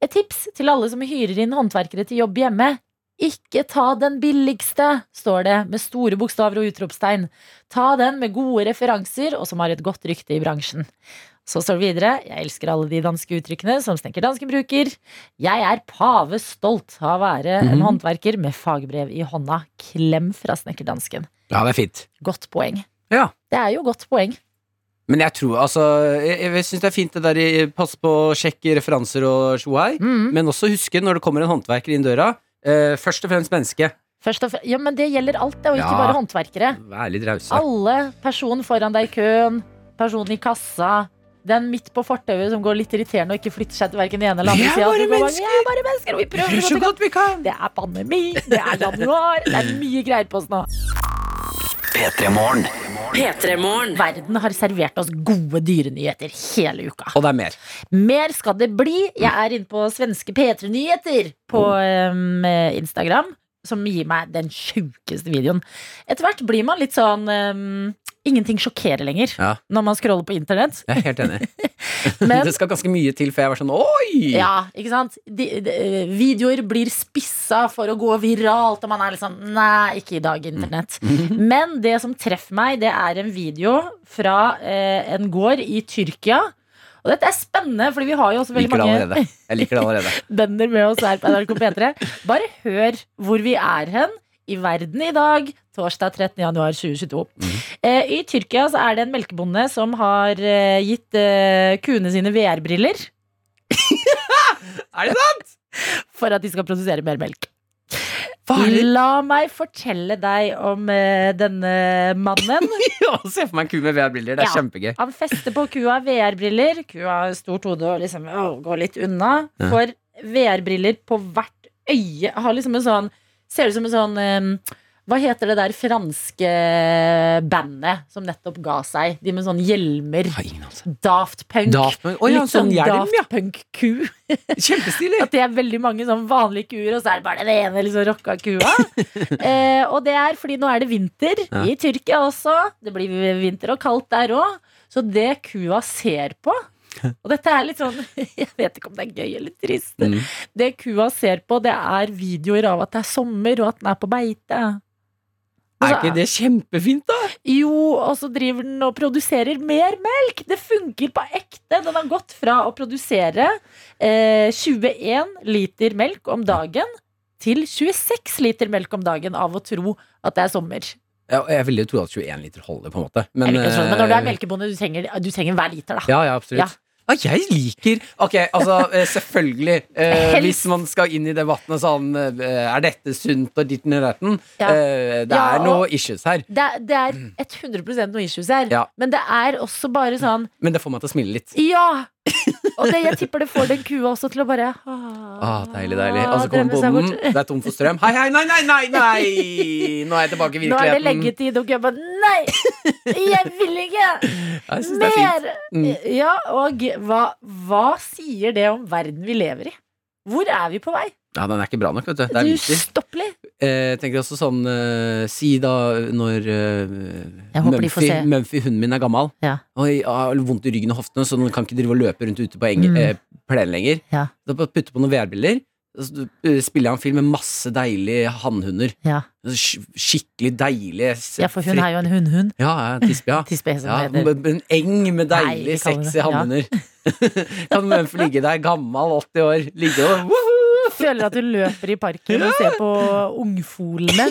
S2: Et tips til alle som hyrer inn håndverkere til jobb hjemme. Ikke ta den billigste, står det med store bokstaver og utropstegn. Ta den med gode referanser og som har et godt rykte i bransjen. Så står det videre, jeg elsker alle de danske uttrykkene som Snekker Dansken bruker. Jeg er pave stolt av å være
S3: Mhm.
S2: en håndverker med fagbrev i hånda. Klem fra snekkerdansken.
S3: Ja, det er fint.
S2: Godt poeng.
S3: Ja.
S2: Det er jo godt poeng.
S3: Men jeg tror, altså Jeg, jeg syns det er fint det der i Pass på å sjekke referanser og tjohei.
S2: Mm.
S3: Men også huske når det kommer en håndverker inn døra eh, Først og fremst menneske.
S2: Først og fre- ja, men det gjelder alt, det, og ikke
S3: Ja.
S2: bare håndverkere.
S3: Vær litt rause.
S2: Alle. Personen foran deg i køen, personen i kassa, den midt på fortauet som går litt irriterende og ikke flytter seg til hverken den ene eller
S3: Vi
S2: andre
S3: er
S2: siden,
S3: bare
S2: så går man,
S3: mennesker!
S2: Vi er bare mennesker, og vi prøver så godt vi kan.
S3: vi kan!
S2: Det er pandemi, det er januar, det er mye greier på oss nå.
S1: P3 Morgen.
S5: P3morgen.
S2: Verden har servert oss gode dyrenyheter hele uka.
S3: Og det er mer.
S2: Mer skal det bli. Jeg er inne på svenske P3 Nyheter på um, Instagram, som gir meg den sjukeste videoen. Etter hvert blir man litt sånn um, Ingenting sjokkerer lenger
S3: Ja.
S2: når man scroller på internett.
S3: Jeg er helt enig.
S2: Men-
S3: det skal ganske mye til før jeg var sånn oi!
S2: Ja, ikke sant? De, de, videoer blir spissa for å gå viralt, og man er liksom Nei, ikke i dag, internett.
S3: Mm.
S2: Men det som treffer meg, det er en video fra eh, en gård i Tyrkia. Og dette er spennende, fordi vi har jo også
S3: Jeg
S2: veldig
S3: liker det
S2: mange
S3: allerede. Jeg liker det allerede.
S2: bønder med oss her på NRK P3. Bare hør hvor vi er hen i verden i dag, torsdag 13. januar 2022. Eh, I Tyrkia så er det en melkebonde som har eh, gitt eh, kuene sine VR-briller.
S4: er det sant?
S2: for at de skal produsere mer melk.
S3: Hva er det?
S2: La meg fortelle deg om eh, denne mannen.
S3: Ja, Se for meg en ku med VR-briller. Det er
S2: Ja.
S3: kjempegøy.
S2: Han fester på kua VR-briller. Kua har stort hode og liksom å, går litt unna.
S3: Ja.
S2: Får VR-briller på hvert øye. Har liksom en sånn Ser ut som en sånn eh, hva heter det der franske bandet som nettopp ga seg? De med sånne hjelmer.
S3: Har ingen anelse.
S2: Daft Punk.
S3: Daft Punk. Å ja,
S2: Litt
S3: sånn hjelm,
S2: Daft
S3: ja.
S2: Punk-ku.
S3: Kjempestilig!
S2: At det er veldig mange sånn vanlige kuer, og så er det bare den ene liksom rocka kua. eh, og det er fordi nå er det vinter
S3: Ja.
S2: i Tyrkia også. Det blir vinter og kaldt der òg. Så det kua ser på Og dette er litt sånn Jeg vet ikke om det er gøy eller trist.
S3: Mm.
S2: Det kua ser på, det er videoer av at det er sommer, og at den er på beite. Og
S3: Er
S2: så
S3: ikke det kjempefint, da?
S2: jo, og så driver den og produserer mer melk! Det funker på ekte! Den har gått fra å produsere eh, 21 liter melk om dagen til 26 liter melk om dagen av å tro at det er sommer.
S3: Jeg, jeg ville jo tro at 21 liter holder, på en måte.
S2: Men, ikke, sånn, men når du er
S3: eh,
S2: melkebonde, du trenger, du trenger hver liter, da.
S3: Ja, ja, absolutt.
S2: Ja.
S3: Ja. jeg liker Ok, altså, eh, selvfølgelig. Eh,
S2: Helst.
S3: hvis man skal inn i debatten og sånn eh, Er dette sunt og ditten og datten?
S2: Ja.
S3: Eh, det
S2: Ja,
S3: er noe issues her,
S2: Det, er- det er 100 noe issues her,
S3: Ja.
S2: men det er også bare sånn
S3: men det får meg til å smile litt.
S2: Ja! Og det, jeg tipper det får den kua også til å bare
S3: Ah, deilig, deilig. Og så kommer
S2: drømme seg
S3: bonden,
S2: bort.
S3: det er tom for strøm. Hei, hei, nei, nei, nei! nei Nå er jeg tilbake i
S2: Nå er det
S3: virkeligheten.
S2: leggetid, og jeg bare Nei! Jeg vil ikke!
S3: Ja, Jeg synes det er fint. Mm.
S2: Mer! Ja, og hva, hva sier det om verden vi lever i? Hvor er vi på vei?
S3: Ja, den er ikke bra nok, vet du. Det er
S2: Du
S3: vinter.
S2: Ustoppelig!
S3: Eh, tenker også sånn eh, Si da når eh,
S2: Jeg håper de får
S3: Mumphy,
S2: se.
S3: Mumphy, hunden min, er gammel
S2: Ja.
S3: og jeg har vondt i ryggen og hoftene, så den kan ikke drive og løpe rundt ute på eng,
S2: Mm.
S3: eh, plenen lenger.
S2: Ja.
S3: Da bare putte på noen VR-briller, så eh, spiller jeg en film med masse deilige hannhunder. Altså,
S2: Ja,
S3: Sk- Skikkelig deilige s-
S2: ja for hun er jo en hundhund.
S3: Ja, ja, tispe, ja.
S2: Tispe som
S3: Ja,
S2: heter.
S3: men- men en eng med
S2: Nei, vi
S3: deilig,
S2: kaller det-
S3: sexy
S2: ja.
S3: hannhunder. kan den få ligge der, gammel, 80 år, ligge og woohoo!
S2: Føler at du løper i parken og ser på ungfolene.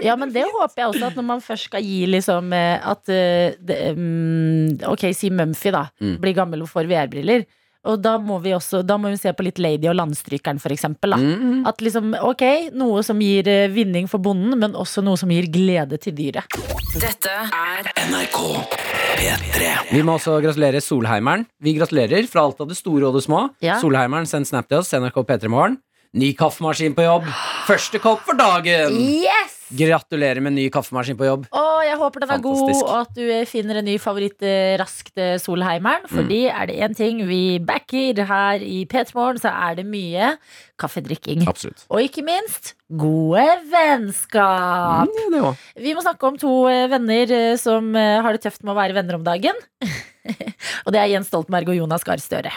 S2: Ja, men det håper jeg også, at når man først skal gi liksom eh, At eh, det, mm, Ok, si Mumphy, da.
S3: Mm.
S2: Blir gammel og får VR-briller. Og da må vi også Da må vi se på litt Lady og Landstrykeren, for eksempel. Da.
S3: Mm.
S2: At liksom, ok, noe som gir eh, vinning for bonden, men også noe som gir glede til dyret.
S5: Dette er
S1: NRK P3
S3: Vi må også gratulere Solheimeren. Vi gratulerer fra alt av det store og det små.
S2: Ja.
S3: Solheimeren, send snap til oss. NRK P3 Morgen. Ny kaffemaskin på jobb. Første kopp for dagen!
S2: Yes!
S3: Gratulerer med ny kaffemaskin på jobb.
S2: Å, jeg håper den er god,
S3: Fantastisk.
S2: og at du eh, finner en ny favoritt eh, raskt, eh, Solheimeren.
S3: Mm.
S2: Fordi er det én ting vi backer her i P3 Morgen, så er det mye kaffedrikking.
S3: Absolutt.
S2: Og ikke minst gode vennskap.
S3: Mm,
S2: Vi må snakke om to eh, venner eh, som eh, har det tøft med å være venner om dagen. og det er Jens Stoltenberg og Jonas Gahr Støre.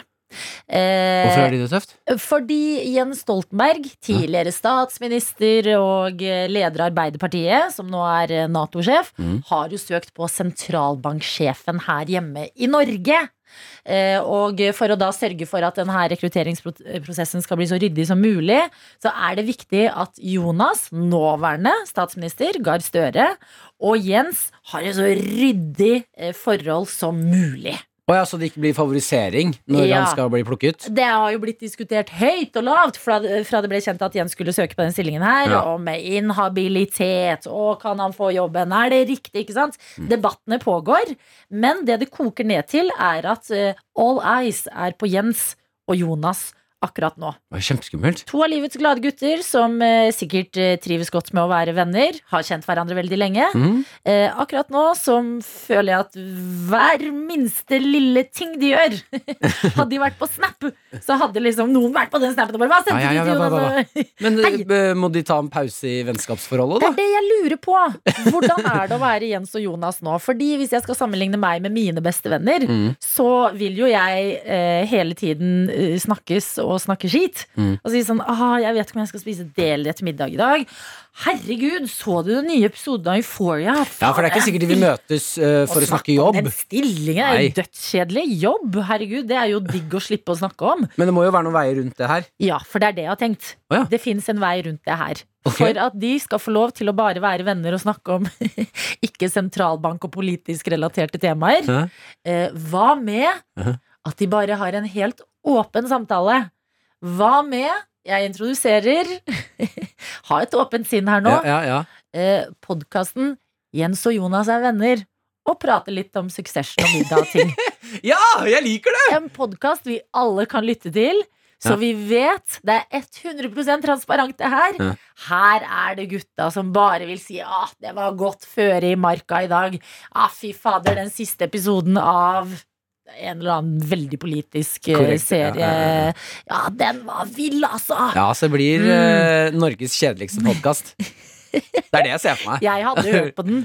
S2: Eh,
S3: Hvorfor har de det tøft?
S2: fordi Jens Stoltenberg, tidligere statsminister og eh, leder av Arbeiderpartiet, som nå er eh, Nato-sjef,
S3: Mm.
S2: har jo søkt på sentralbanksjefen her hjemme i Norge. Eh, Og for å da sørge for at denne rekrutteringsprosessen skal bli så ryddig som mulig, så er det viktig at Jonas, nåværende statsminister, Gahr Støre, og Jens har et så ryddig eh, forhold som mulig.
S3: Å ja, så det ikke blir favorisering når
S2: Ja.
S3: han skal bli plukket?
S2: Det har jo blitt diskutert høyt og lavt fra, fra det ble kjent at Jens skulle søke på den stillingen her.
S3: Ja.
S2: Og med inhabilitet og kan han få jobben? Er det riktig? ikke sant? Debattene pågår. Men det det koker ned til, er at eh, all eyes er på Jens og Jonas akkurat nå.
S3: Det var kjempeskummelt.
S2: To av livets glade gutter som eh, sikkert eh, trives godt med å være venner. Har kjent hverandre veldig lenge.
S3: Mm.
S2: Eh, akkurat nå som føler jeg at hver minste lille ting de gjør Hadde de vært på Snap, så hadde liksom noen vært på den Snapen og bare Hva sendte
S3: Ja, ja, ja,
S2: de til
S3: hva, hva,
S2: Jonas?
S3: Men
S2: Hei.
S3: eh, må de ta en pause i vennskapsforholdet,
S2: Det er
S3: da?
S2: det jeg lurer på. Hvordan er det å være Jens og Jonas nå? Fordi hvis jeg skal sammenligne meg med mine bestevenner,
S3: Mm.
S2: så vil jo jeg eh, hele tiden eh, snakkes og snakke skit.
S3: Mm.
S2: Og si sånn ah, 'Jeg vet ikke om jeg skal spise deler til middag i dag'. Herregud, så du den nye episoden av Euphoria?
S3: Ja, for det er ikke sikkert de vil møtes eh, for å snakke
S2: om
S3: jobb.
S2: Den stillingen er jo
S3: Nei.
S2: dødskjedelig. Jobb, herregud, det er jo digg å slippe å snakke om.
S3: Men det må jo være noen veier rundt det her.
S2: Ja, for det er det jeg har tenkt.
S3: Å ja.
S2: Det fins en vei rundt det her.
S3: Ok.
S2: For at de skal få lov til å bare være venner og snakke om ikke sentralbank og politisk relaterte temaer.
S3: Hæ?
S2: Eh, hva med
S3: Hæ?
S2: at de bare har en helt åpen samtale? Hva med jeg introduserer Ha et åpent sinn her nå.
S3: Ja, ja, ja.
S2: eh, podkasten Jens og Jonas er venner. Og prate litt om succession og middag og ting.
S3: ja, jeg liker det!
S2: en podkast vi alle kan lytte til. Så
S3: Ja.
S2: vi vet, det er 100 transparent det her.
S3: Ja.
S2: Her er det gutta som bare vil si ah, det var godt føre i marka i dag. Ah, fy fader, den siste episoden av en eller annen veldig politisk eh,
S3: Korrekt, ja,
S2: serie. Ja,
S3: ja, ja, ja.
S2: den var vill, altså!
S3: Ja, så det blir eh, Norges kjedeligste podkast. Det er det jeg ser for meg.
S2: Jeg hadde hørt på den.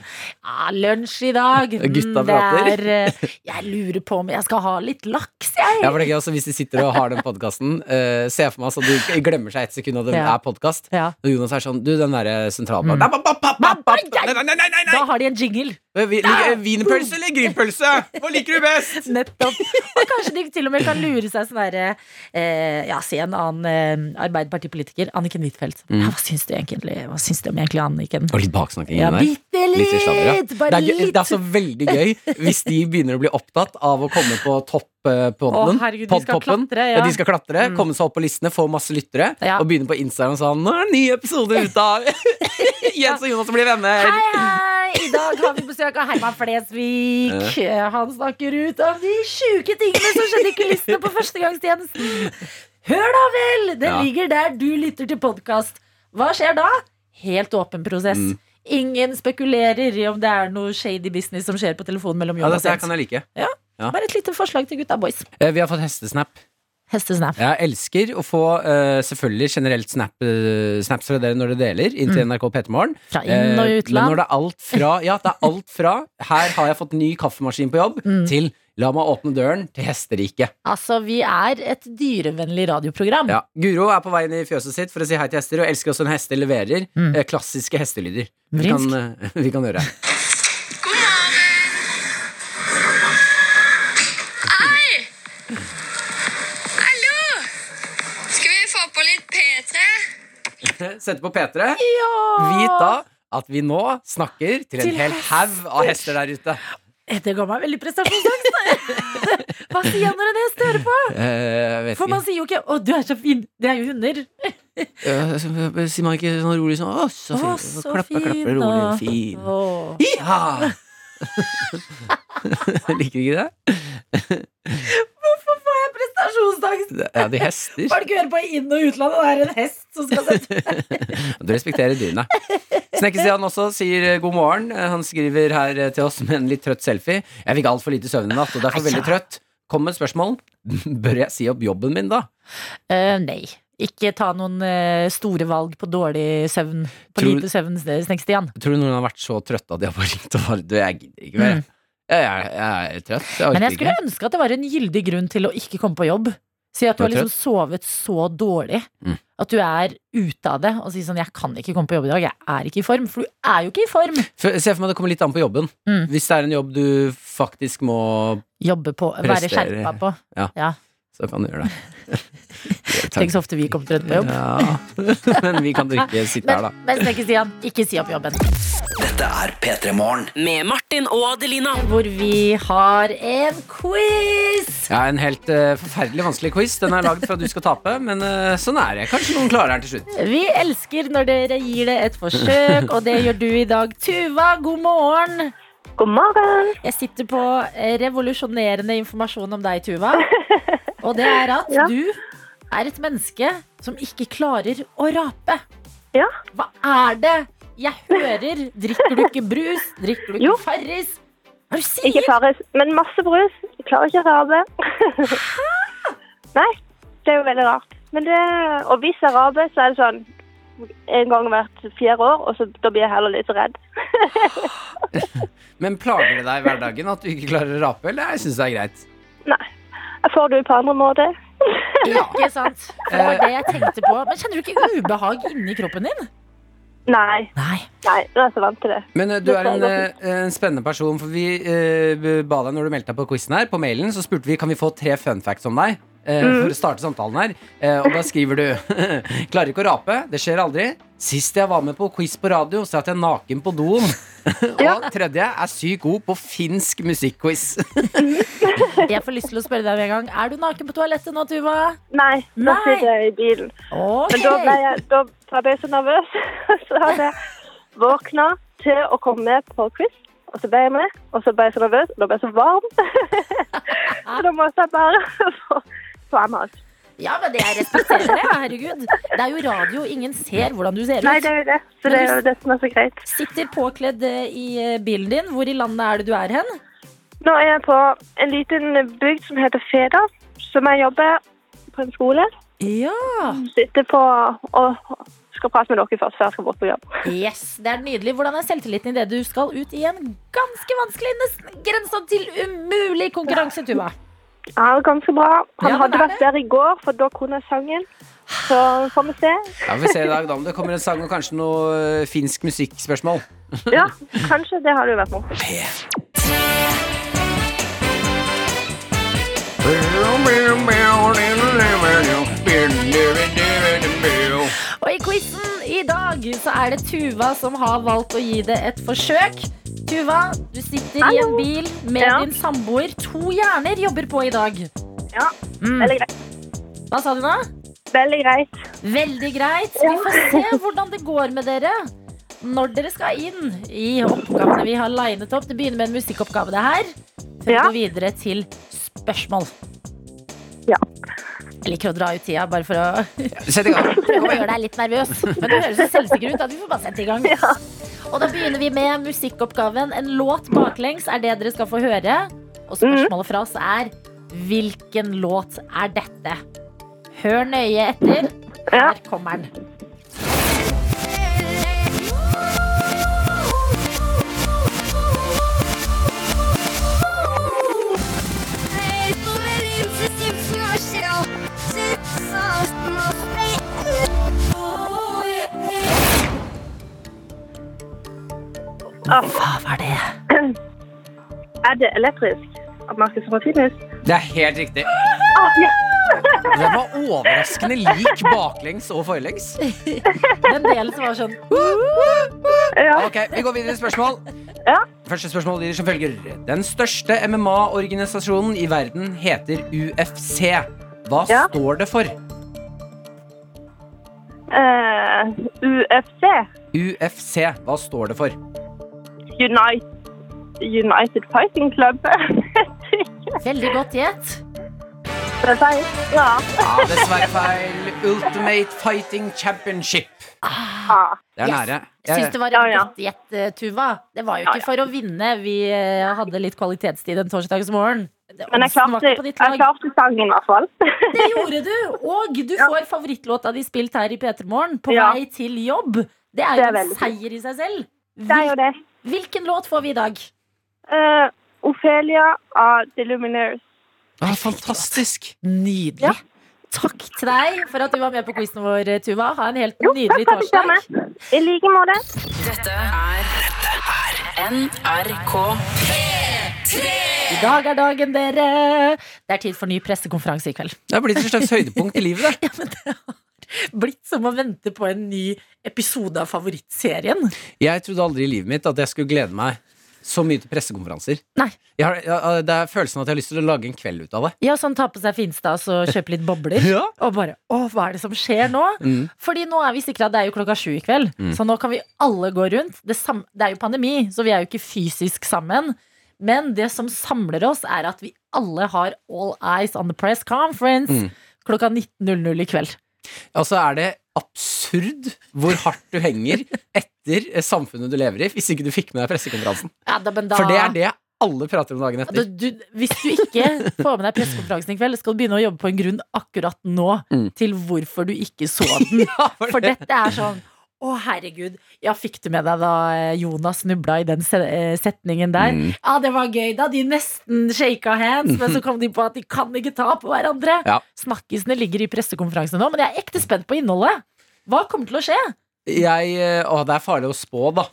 S2: Ja, lunsj i dag. Mm,
S3: Gutta
S2: det
S3: prater.
S2: er eh, Jeg lurer på om jeg skal ha litt laks, jeg.
S3: Ja, for det er gøy også Hvis de sitter og har den podkasten, uh, ser jeg for meg så du glemmer seg ett sekund, og det
S2: Ja.
S3: er podkast.
S2: Ja.
S3: Og Jonas er sånn Du, den derre sentralbanken
S2: Mm.
S3: Nei, papp, papp, papp, papp. Nei, nei, nei, nei,
S2: Da har de en jingle.
S3: nei. Vi- liker- Wienerpølse eller grillpølse? Hva liker du best?
S2: Nettopp. Og kanskje de til og med kan lure seg sånn derre eh, Ja, se en annen eh, Arbeiderpartipolitiker. Anniken Huitfeldt.
S3: Mm.
S2: Ja, hva syns du egentlig Hva syns du om egentlig Anniken?
S3: Og litt baksnakking
S2: Ja,
S3: inni der.
S2: bitte litt!
S3: Litt sladder, ja.
S2: Bare
S3: det, er, gøy-
S2: litt.
S3: det er så veldig gøy hvis de begynner å bli opptatt av å komme på topp eh, podden,
S2: Å, herregud, de skal
S3: podtoppen.
S2: klatre, ja. Mm.
S3: de skal klatre, komme seg opp på listene, få masse lyttere,
S2: Ja.
S3: og begynne på Instagram og sånn Nå er det en ny episode ute av Jens og Jonas blir venner!
S2: Hei, hei! I dag har vi besøk av Herman Flesvig. Eh, Han snakker ut om de sjuke tingene som skjedde i kulissene på førstegangstjenesten. Hør da vel! Det
S3: Ja.
S2: ligger der du lytter til podkast. Hva skjer da? Helt åpen prosess.
S3: Mm.
S2: Ingen spekulerer i om det er noe shady business som skjer på telefonen mellom
S3: Ja,
S2: Jonas og
S3: dette her
S2: Jens.
S3: kan jeg like.
S2: Bare et lite forslag til gutta boys.
S3: Eh, Vi har fått hestesnap.
S2: Hestesnap.
S3: Jeg elsker å få eh, selvfølgelig generelt snap, eh, snaps fra dere når dere deler, inn til NRK P3morgen.
S2: Mm. Fra inn- og
S3: Eh, Men når
S2: utland. Mm.
S3: det er alt fra Ja, det er alt fra Her har jeg fått ny kaffemaskin på jobb, til La meg åpne døren til hesterike
S2: Altså, vi er et dyrevennlig radioprogram.
S3: Ja. Guro er på vei inn i fjøset sitt for å si hei til hester, og elsker også en hest leverer.
S2: Mm.
S3: Eh, Klassiske hestelyder. Vi kan,
S2: Vrinsk.
S3: eh, vi kan høre.
S5: Hei! Hallo! Skal vi få på litt P3?
S3: Sette på P3. Vit da at vi nå snakker til en
S2: Til
S3: hel haug av hester der ute.
S2: Det ga meg veldig prestasjonsangst. Hva sier jeg når en hest hører på?
S3: Eh, vet
S2: For man sier jo ikke 'Å, du er så fin'. Det er jo hunder.
S3: ikke. Eh, Sier man ikke sånn rolig sånn Å, så
S2: Å,
S3: fin.
S2: så
S3: klappe,
S2: fin, da.
S3: klappe, rolig. Fin.
S2: Åh.
S3: Ja! Liker du ikke det?
S2: Prestasjonsangst!
S3: Det er de hester.
S2: Folk hører på i inn- og utlandet, og det er en hest som skal sette
S3: Du respekterer dyrene. Snekkestian også sier eh, god morgen. Eh, Han skriver her eh, til oss med en litt trøtt selfie. Jeg fikk altfor lite søvn i natt, og derfor veldig trøtt. Kom med et spørsmål. Bør jeg si opp jobben min, da?
S2: Eh, Nei. Ikke ta noen eh, store valg på dårlig søvn. På
S3: Tror-
S2: lite søvn, Snekk-Stian.
S3: Tror du noen har vært så trøtte at de har bare ringt og bare Du, jeg gidder ikke mer. Jeg, jeg, jeg er trøtt. Jeg
S2: Mm. Men
S3: orker
S2: jeg skulle
S3: ikke.
S2: ønske at det var en gyldig grunn til å ikke komme på jobb. Si at du
S3: Du er
S2: har liksom sovet så dårlig
S3: Mm.
S2: at du er ute av det, og si sånn 'jeg kan ikke komme på jobb i dag, jeg er ikke i form'. For du er jo ikke i form!
S3: For- Se for meg det kommer litt an på jobben.
S2: Mm.
S3: Hvis det er en jobb du faktisk må,
S2: Jobbe på, være
S3: Prestere.
S2: skjerpa på.
S3: så kan du gjøre det.
S2: Tenk så ofte vi kommer trøtt på jobb.
S3: Ja. Men vi kan ikke sitte her, da.
S2: Men, men Snekk-Stian, ikke si opp jobben.
S1: Dette er P3 Morgen.
S6: Med Martin og Adelina.
S2: Hvor vi har en quiz!
S3: Ja, En helt eh, forferdelig vanskelig quiz. Den er lagd for at du skal tape, men eh, sånn er det. Kanskje noen klarer den til slutt.
S2: Vi elsker når dere gir det et forsøk, og det gjør du i dag. Tuva, god morgen!
S7: God morgen.
S2: Jeg sitter på eh, revolusjonerende informasjon om deg, Tuva. Og det er at
S7: Ja.
S2: du er et menneske som ikke klarer å rape.
S7: Ja.
S2: Hva er det? Jeg hører Drikker du ikke brus? Drikker du
S7: Jo.
S2: ikke Farris? Hva er det du
S7: Ikke
S2: sier?
S7: Farris, men masse brus. Jeg klarer ikke å rabe. Nei, det er jo veldig rart. Men det, og hvis jeg raber, så er det sånn en gang hvert fjerde år, og så da blir jeg heller litt redd.
S3: Men plager det deg i hverdagen at du ikke klarer å rape, eller? Jeg syns det er greit.
S7: Jeg får det jo på andre måter.
S3: Ja.
S2: Ikke sant? Det var det jeg tenkte på. Men kjenner du ikke ubehag inni kroppen din?
S7: Nei,
S2: Nei.
S7: nei, nå er jeg så vant til det.
S3: Men eh, du er en, eh, en spennende person, for vi eh, ba deg når du meldte deg på quizen her, på mailen, så spurte vi kan vi få tre fun facts om deg. eh, For å starte samtalen her Eh, Og da skriver du Klarer ikke å rape, det skjer aldri Sist jeg var med på quiz på radio Så satt jeg naken på doen Og tredje er sykt god på finsk musikkquiz
S2: Jeg får lyst til å spørre deg med en gang. Er du naken på toalettet nå, Tuva?
S7: Nei, nå
S2: Nei.
S7: sitter jeg i bilen. Men da ble jeg, da ble jeg så nervøs, så hadde jeg våkna til å komme med på quiz. Og så ble jeg med, og så ble jeg så nervøs, og da ble jeg så varm. så da måtte jeg bare få, få en mat.
S2: Ja, men det jeg respekterer det, ja, herregud. Det er jo radio, ingen ser hvordan du ser ut.
S7: Nei, det er jo det. Så det er jo det som er så greit.
S2: Sitter påkledd eh, i eh, bilen din. Hvor i landet er det du er hen?
S7: Nå er jeg på en liten bygd som heter Feda, som jeg jobber på en skole.
S2: Ja.
S7: Sitter på og skal prate med dere først før jeg skal bort på jobb.
S2: Yes, det er nydelig. Hvordan er selvtilliten i det du skal ut i en ganske vanskelig, nesten grensa til umulig konkurranse, Tuva?
S7: Ja, det er ganske bra.
S2: Ja,
S7: Han
S2: men
S7: hadde
S2: er
S7: vært der i går, for da kunne jeg sangen. Så får vi se.
S3: Ja, vi får se i dag da om det kommer en sang og kanskje noe eh, finsk musikkspørsmål.
S7: Ja, kanskje. Det hadde jo vært morsomt.
S2: Og i quizen i dag så er det Tuva som har valgt å gi det et forsøk. Tuva, du sitter i en
S7: Hallo.
S2: bil med
S7: Ja.
S2: din samboer. To hjerner jobber på i dag.
S7: Ja,
S2: Mm.
S7: veldig greit.
S2: Hva sa du nå?
S7: Veldig greit.
S2: Veldig greit. Vi får se hvordan det går med dere når dere skal inn i oppgavene vi har linet opp. Det begynner med en musikkoppgave, det her. Før vi
S7: Ja.
S2: går videre til spørsmål.
S7: Ja.
S2: Jeg liker å dra ut tida bare for å
S3: Sett i gang.
S2: prøve å gjøre deg litt nervøs. Men du høres så selvsikker ut at vi får bare sette i gang. Og da begynner vi med musikkoppgaven. En låt baklengs er det dere skal få høre. Og
S7: Mhm.
S2: spørsmålet fra oss er hvilken låt er dette? Hør nøye etter.
S7: Ja.
S2: Her kommer den. Hva var det?
S7: Er det elektrisk? At man skal se på fitness?
S3: Det er helt riktig.
S7: Ah, ja.
S3: Den var overraskende lik baklengs og forlengs.
S2: Den delen som var sånn Ah,
S7: ja.
S3: Ok, Vi går videre til spørsmål.
S7: Ja.
S3: Første spørsmål lyder som følger. Den største MMA-organisasjonen i verden heter UFC. Hva
S7: Ja.
S3: står det for?
S7: Eh, UFC.
S3: UFC, hva står det for?
S7: Unite, United Fighting Club.
S2: Veldig godt gjett.
S7: Det er feil. ja.
S3: Ja, dessverre feil. Ultimate Fighting Championship.
S7: Ah.
S3: Det er
S2: Yes.
S3: nære.
S2: Jeg syns det var
S7: Ja,
S2: et
S7: ja.
S2: godt gjett, eh, Tuva. Det var jo
S7: Ja,
S2: ikke for å vinne. Vi eh, hadde litt kvalitetstid en torsdagsmorgen.
S7: Men jeg
S2: Oddsen var
S7: klarte,
S2: ikke på ditt
S7: jeg
S2: lag.
S7: klarte sangen i hvert fall.
S2: Det gjorde du! Og du får favorittlåta di spilt her i P3 Morgen på
S7: Ja.
S2: vei til jobb. Det er
S7: Det
S2: jo
S7: er
S2: en
S7: veldig fint.
S2: seier i seg selv.
S7: Det er jo det.
S2: Hvilken låt får vi i dag?
S7: Eh, Ophelia av The Lumineers.
S3: Ah, fantastisk.
S2: Nydelig.
S7: Ja.
S2: Takk til deg for at du var med på quizen vår, Tuva. Ha en helt nydelig
S7: Takk for det samme.
S2: torsdag.
S7: I like måte.
S2: I dag er dagen, dere. Det er tid for ny pressekonferanse i kveld.
S3: Det har blitt et slags høydepunkt i livet. Det.
S2: Blitt som å vente på en ny episode av favorittserien.
S3: Jeg trodde aldri i livet mitt at jeg skulle glede meg så mye til pressekonferanser.
S2: Nei.
S3: Jeg har, jeg, det er følelsen av at jeg har lyst til å lage en kveld ut av det.
S2: Ja, sånn ta på seg Finstad og kjøpe litt bobler.
S3: Ja.
S2: Og bare Å, hva er det som skjer nå?
S3: Mm.
S2: Fordi nå er vi sikra, det er jo klokka sju i kveld. Så nå kan vi alle gå rundt. Det, sam det er jo pandemi, så vi er jo ikke fysisk sammen. Men det som samler oss, er at vi alle har All Eyes on the Press Conference
S3: Mm.
S2: klokka 19.00 i kveld.
S3: Altså er det absurd hvor hardt du henger etter eh, samfunnet du lever i, hvis ikke du fikk med deg pressekonferansen.
S2: Ja, da, men da,
S3: For det er det alle prater om dagen
S2: Da,
S3: etter.
S2: Altså, du, hvis du ikke får med deg pressekonferansen i kveld, skal du begynne å jobbe på en grunn akkurat nå
S3: Mm.
S2: til hvorfor du ikke så den.
S3: Ja, for
S2: For
S3: det.
S2: dette er sånn Å, herregud. Ja, fikk du med deg da eh, Jonas snubla i den se- eh, setningen der?
S3: Mm.
S2: Ja, det var gøy, da. De nesten shaka hands, men så kom de på at de kan ikke ta på hverandre.
S3: Ja.
S2: Snakkisene ligger i pressekonferansen nå, men jeg er ekte spent på innholdet. Hva kommer til å skje?
S3: Jeg, eh, å, det er farlig å spå, da.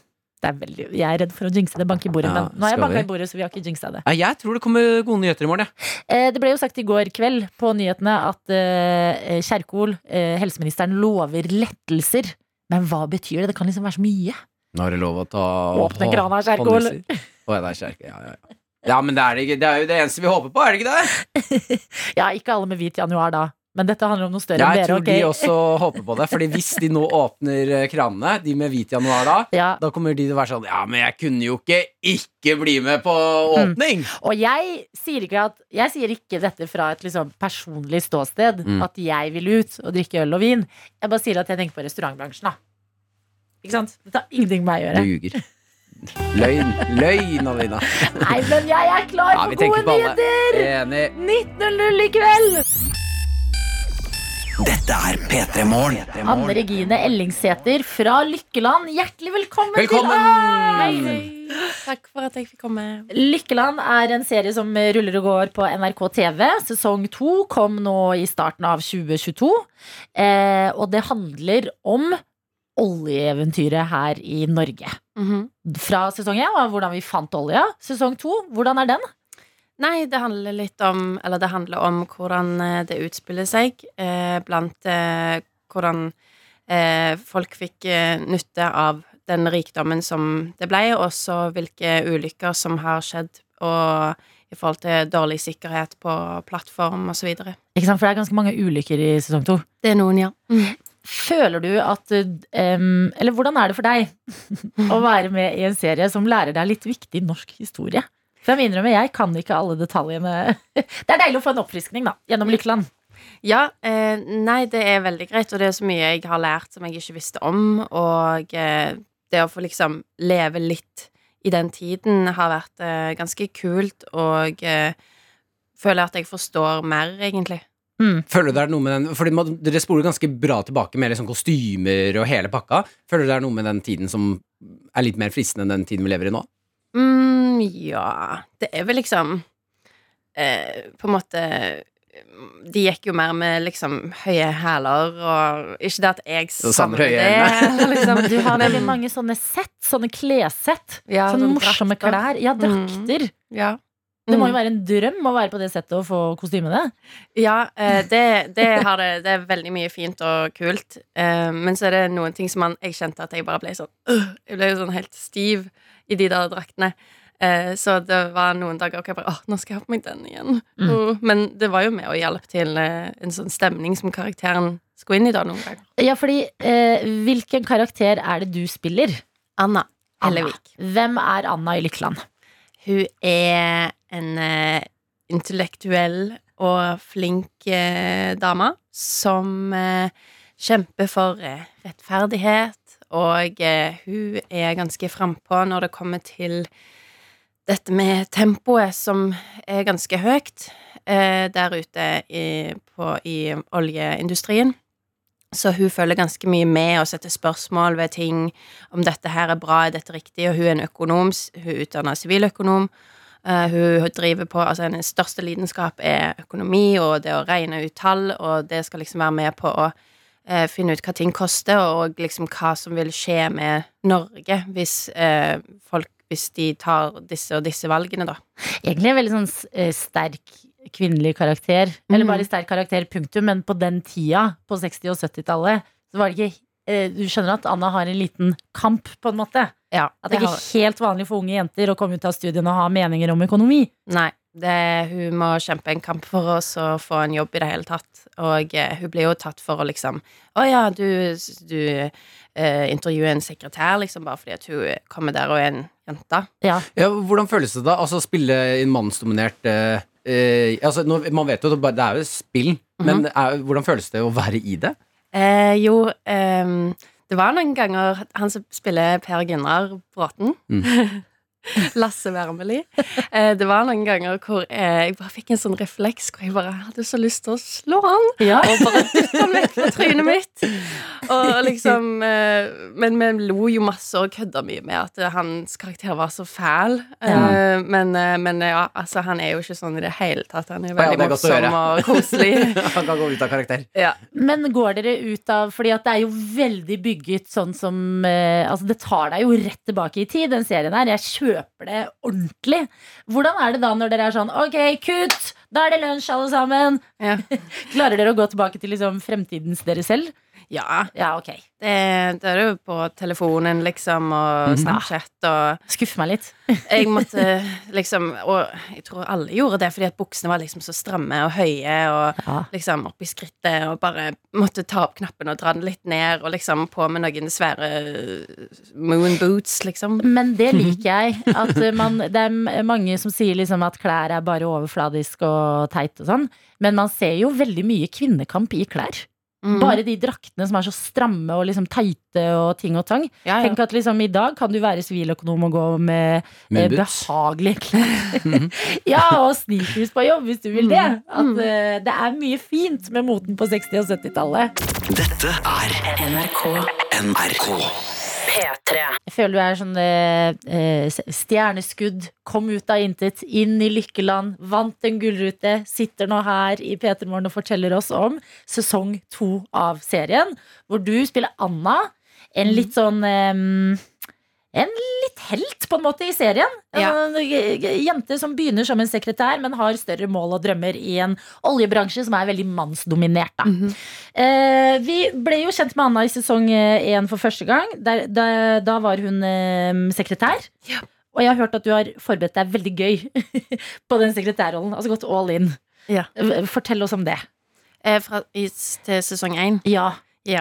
S2: Det er veldig, jeg er redd for å jinxe det. Bank i bordet.
S3: Ja,
S2: men nå har jeg
S3: skal vi?
S2: banka i bordet, så vi har ikke jinxa det.
S3: Nei, Jeg tror det kommer gode nyheter i morgen. jeg.
S2: Eh, Det ble jo sagt i går kveld på nyhetene at eh, Kjerkol, eh, helseministeren, lover lettelser. Men hva betyr det? Det kan liksom være så mye.
S3: Nå er det lov å ta
S2: Åpne krana, Kjerkol.
S3: håndhilser. Å, ja, det er kjerke. Ja, ja, ja. ja, men det er, det, ikke- det er jo det eneste vi håper på, er det ikke det?
S2: Ja, ikke alle med hvit januar da. Men dette handler om noe større enn
S3: Jeg
S2: dere.
S3: tror de
S2: ok?
S3: også håper på det, Fordi hvis de nå åpner eh, kranene, de med hvit januar da,
S2: Ja,
S3: da kommer de til å være sånn Ja, men jeg kunne jo ikke ikke bli med på
S2: Mm.
S3: åpning!
S2: og jeg sier, ikke at, jeg sier ikke dette fra et liksom personlig ståsted,
S3: Mm.
S2: at jeg vil ut og drikke øl og vin. Jeg bare sier at jeg tenker på restaurantbransjen, da. Ikke sant? Det har ingenting med meg å
S3: Du
S2: gjøre.
S3: ljuger. Løgn. Løgn, Adelina.
S2: Nei, men jeg er klar
S3: Ja, vi
S2: for
S3: tenker
S2: gode
S3: på alle.
S2: nyheter!
S3: Enig.
S2: 19.00 i kveld!
S1: Dette er P3 Morgen.
S2: Anne Regine Ellingsæter fra Lykkeland, hjertelig velkommen, til
S3: Velkommen!
S2: oss!
S6: Takk for at jeg fikk komme.
S2: Lykkeland er en serie som ruller og går på NRK TV. Sesong to kom nå i starten av 2022. Eh, og det handler om oljeeventyret her i Norge.
S6: Mhm.
S2: Fra sesong én var hvordan vi fant olja. Sesong to, hvordan er den?
S6: Nei, det handler litt om Eller det handler om hvordan eh, det utspiller seg eh, blant eh, hvordan eh, folk fikk eh, nytte av den rikdommen som det ble, og også hvilke ulykker som har skjedd, og i forhold til dårlig sikkerhet på plattform osv. Det
S2: Ikke sant, For det er ganske mange ulykker i sesong to.
S6: er noen, ja.
S2: Føler du at eh, em, Eller hvordan er det for deg å være med i en serie som lærer deg litt viktig norsk historie? For jeg må innrømme, jeg kan ikke alle detaljene. Det er deilig å få en oppfriskning, da. Gjennom Lykkeland.
S6: Ja, eh, nei, det er veldig greit, og det er så mye jeg har lært som jeg ikke visste om, og eh, det å få liksom leve litt i den tiden har vært eh, ganske kult, og eh, føler at jeg forstår mer, egentlig.
S3: Føler du det er noe med den Fordi man, Dere spoler ganske bra tilbake med liksom kostymer og hele pakka. Føler du det er noe med den tiden som er litt mer fristende enn den tiden vi lever i nå?
S6: Mm, ja, det er vel liksom eh, på en måte de gikk jo mer med liksom høye hæler og Ikke det at jeg
S3: savner
S6: savner
S3: høye
S6: det. Liksom.
S2: Du har veldig mange sånne sett, sånne klessett.
S6: Ja,
S2: sånne
S6: sånn
S2: morsomme
S6: drakter.
S2: klær. Ja,
S6: Mm.
S2: drakter. Mm.
S6: Ja.
S2: Det må jo være en drøm å være på det settet og få kostymene.
S6: Ja, eh, det, det, har det, det er veldig mye fint og kult. Eh, Men så er det noen ting som man, jeg kjente at jeg bare ble sånn øh, Jeg ble jo sånn helt stiv i de der draktene. Eh, Så det var noen dager hvor jeg bare åh, nå skal jeg ha på meg den igjen.
S2: Mm.
S6: Åh, Men det var jo med og hjalp til eh, en sånn stemning som karakteren skulle inn i da noen ganger.
S2: Ja, fordi eh, hvilken karakter er det du spiller?
S6: Anna
S2: Anna.
S6: Hellevik.
S2: Hvem er Anna i Lykkeland?
S6: Hun er en eh, intellektuell og flink eh, dame som eh, kjemper for eh, rettferdighet. Og eh, hun er ganske frampå når det kommer til dette med tempoet, som er ganske høyt eh, der ute i, på, i oljeindustrien. Så hun følger ganske mye med og setter spørsmål ved ting om dette her er bra, er dette riktig, og hun er en økonom, s- hun er utdannet siviløkonom, Eh, hun driver på, altså hennes største lidenskap er økonomi, og det å regne ut tall, og det skal liksom være med på å eh, finne ut hva ting koster, og liksom hva som vil skje med Norge hvis eh, folk, hvis de tar disse og disse valgene da.
S2: Egentlig en veldig sånn s- eh, sterk kvinnelig karakter. Eller bare sterk karakter, punktum. Men på den tida, på 60- og 70-tallet, så var det ikke eh, Du skjønner at Anna har en liten kamp, på en måte.
S6: Ja,
S2: At det ikke er helt vanlig for unge jenter å komme ut av studien og ha meninger om økonomi.
S6: Nei. Det, hun må kjempe en kamp for oss og få en jobb i det hele tatt. Og eh, hun blir jo tatt for å liksom Å ja, du, du eh, intervjuer en sekretær, liksom, bare fordi at hun kommer der og er en jente.
S2: Ja.
S3: Ja, hvordan føles det da? Altså spille i en mannsdominert eh, eh, altså, nå, Man vet jo at det bare- det er jo spill, men er, hvordan føles det å være i det?
S6: Eh, jo, ehm, det var noen ganger han som spiller Per Gunnar Bråten. Lasse Wermeli. Eh, det var noen ganger hvor eh, jeg bare fikk en sånn refleks hvor jeg bare hadde så lyst til å slå han.
S2: Ja.
S6: Og bare dytte han Sånn vekk fra trynet mitt. Og liksom eh, Men vi lo jo masse og kødda mye med at eh, hans karakter var så fæl. Eh, men, eh, men ja, altså, han er jo ikke sånn i det hele tatt. Han er
S3: ja,
S6: veldig
S3: det er godt å
S6: morsom
S3: høre.
S6: og koselig.
S3: Han kan gå ut av karakter.
S6: Ja.
S2: Men går dere ut av Fordi at det er jo veldig bygget sånn som eh, Altså, det tar deg jo rett tilbake i tid, den serien her. Jeg kjøper det ordentlig. Hvordan er det da når dere er sånn OK, kutt! Da er det lunsj, alle sammen!
S6: Ja.
S2: Klarer dere å gå tilbake til liksom fremtidens dere selv?
S6: ja.
S2: Ja, ok.
S6: Det, det er jo på telefonen, liksom,
S3: Mhm.
S6: og Snapchat og
S2: Skuff meg litt.
S6: Jeg måtte liksom Og jeg tror alle gjorde det, fordi at buksene var liksom så stramme og høye og
S2: Ja.
S6: liksom oppi skrittet, og bare måtte ta opp knappen og dra den litt ned, og liksom på med noen svære moon boots, liksom.
S2: Men det liker jeg. At man, det er mange som sier liksom at klær er bare overfladisk og teit og sånn. Men man ser jo veldig mye kvinnekamp i klær.
S6: Mm.
S2: Bare de draktene som er så stramme og liksom teite og ting og tang.
S6: ja, ja.
S2: Tenk at liksom i dag kan du være siviløkonom og gå med eh,
S3: Med boots.
S2: behagelige klær. ja, og sneakers på jobb hvis du vil det.
S6: Mm.
S2: At eh, det er mye fint med moten på 60- og 70-tallet.
S1: Dette er NRK.
S2: Jeg føler du er sånn eh, eh, stjerneskudd. Kom ut av intet, inn i lykkeland. Vant en gullrute. Sitter nå her i P3 Morgen og forteller oss om sesong to av serien. Hvor du spiller Anna. En litt sånn eh, En litt helt, på en måte, i serien.
S6: Ja.
S2: En eh, jente som begynner som en sekretær, men har større mål og drømmer i en oljebransje som er veldig mannsdominert. da. Eh, vi ble jo kjent med Anna i sesong eh, én for første gang. Der, da, da var hun eh, sekretær. Og jeg har hørt at du har forberedt deg veldig gøy på den sekretærrollen. Altså gått all in.
S6: Ja.
S2: Eh, Fortell oss om det.
S6: Eh, Fra, i, til sesong én.
S2: Ja.
S6: Ja.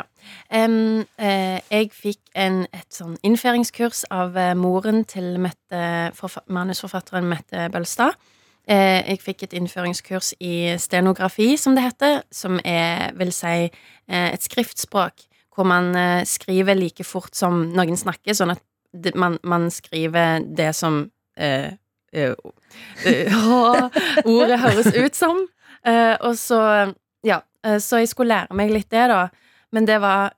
S6: Em, eh, jeg fikk en, et sånn innføringskurs av eh, moren til Mette, forfa manusforfatteren Mette Bølstad. Eh, jeg fikk et innføringskurs i stenografi, som det heter, som er, vil si, eh, et skriftspråk hvor man eh, skriver like fort som noen snakker, sånn at det, man, man skriver det som eh, eh, o- eh, ordet høres ut som. Eh, og så, ja, eh, så jeg skulle lære meg litt det, da. Men det var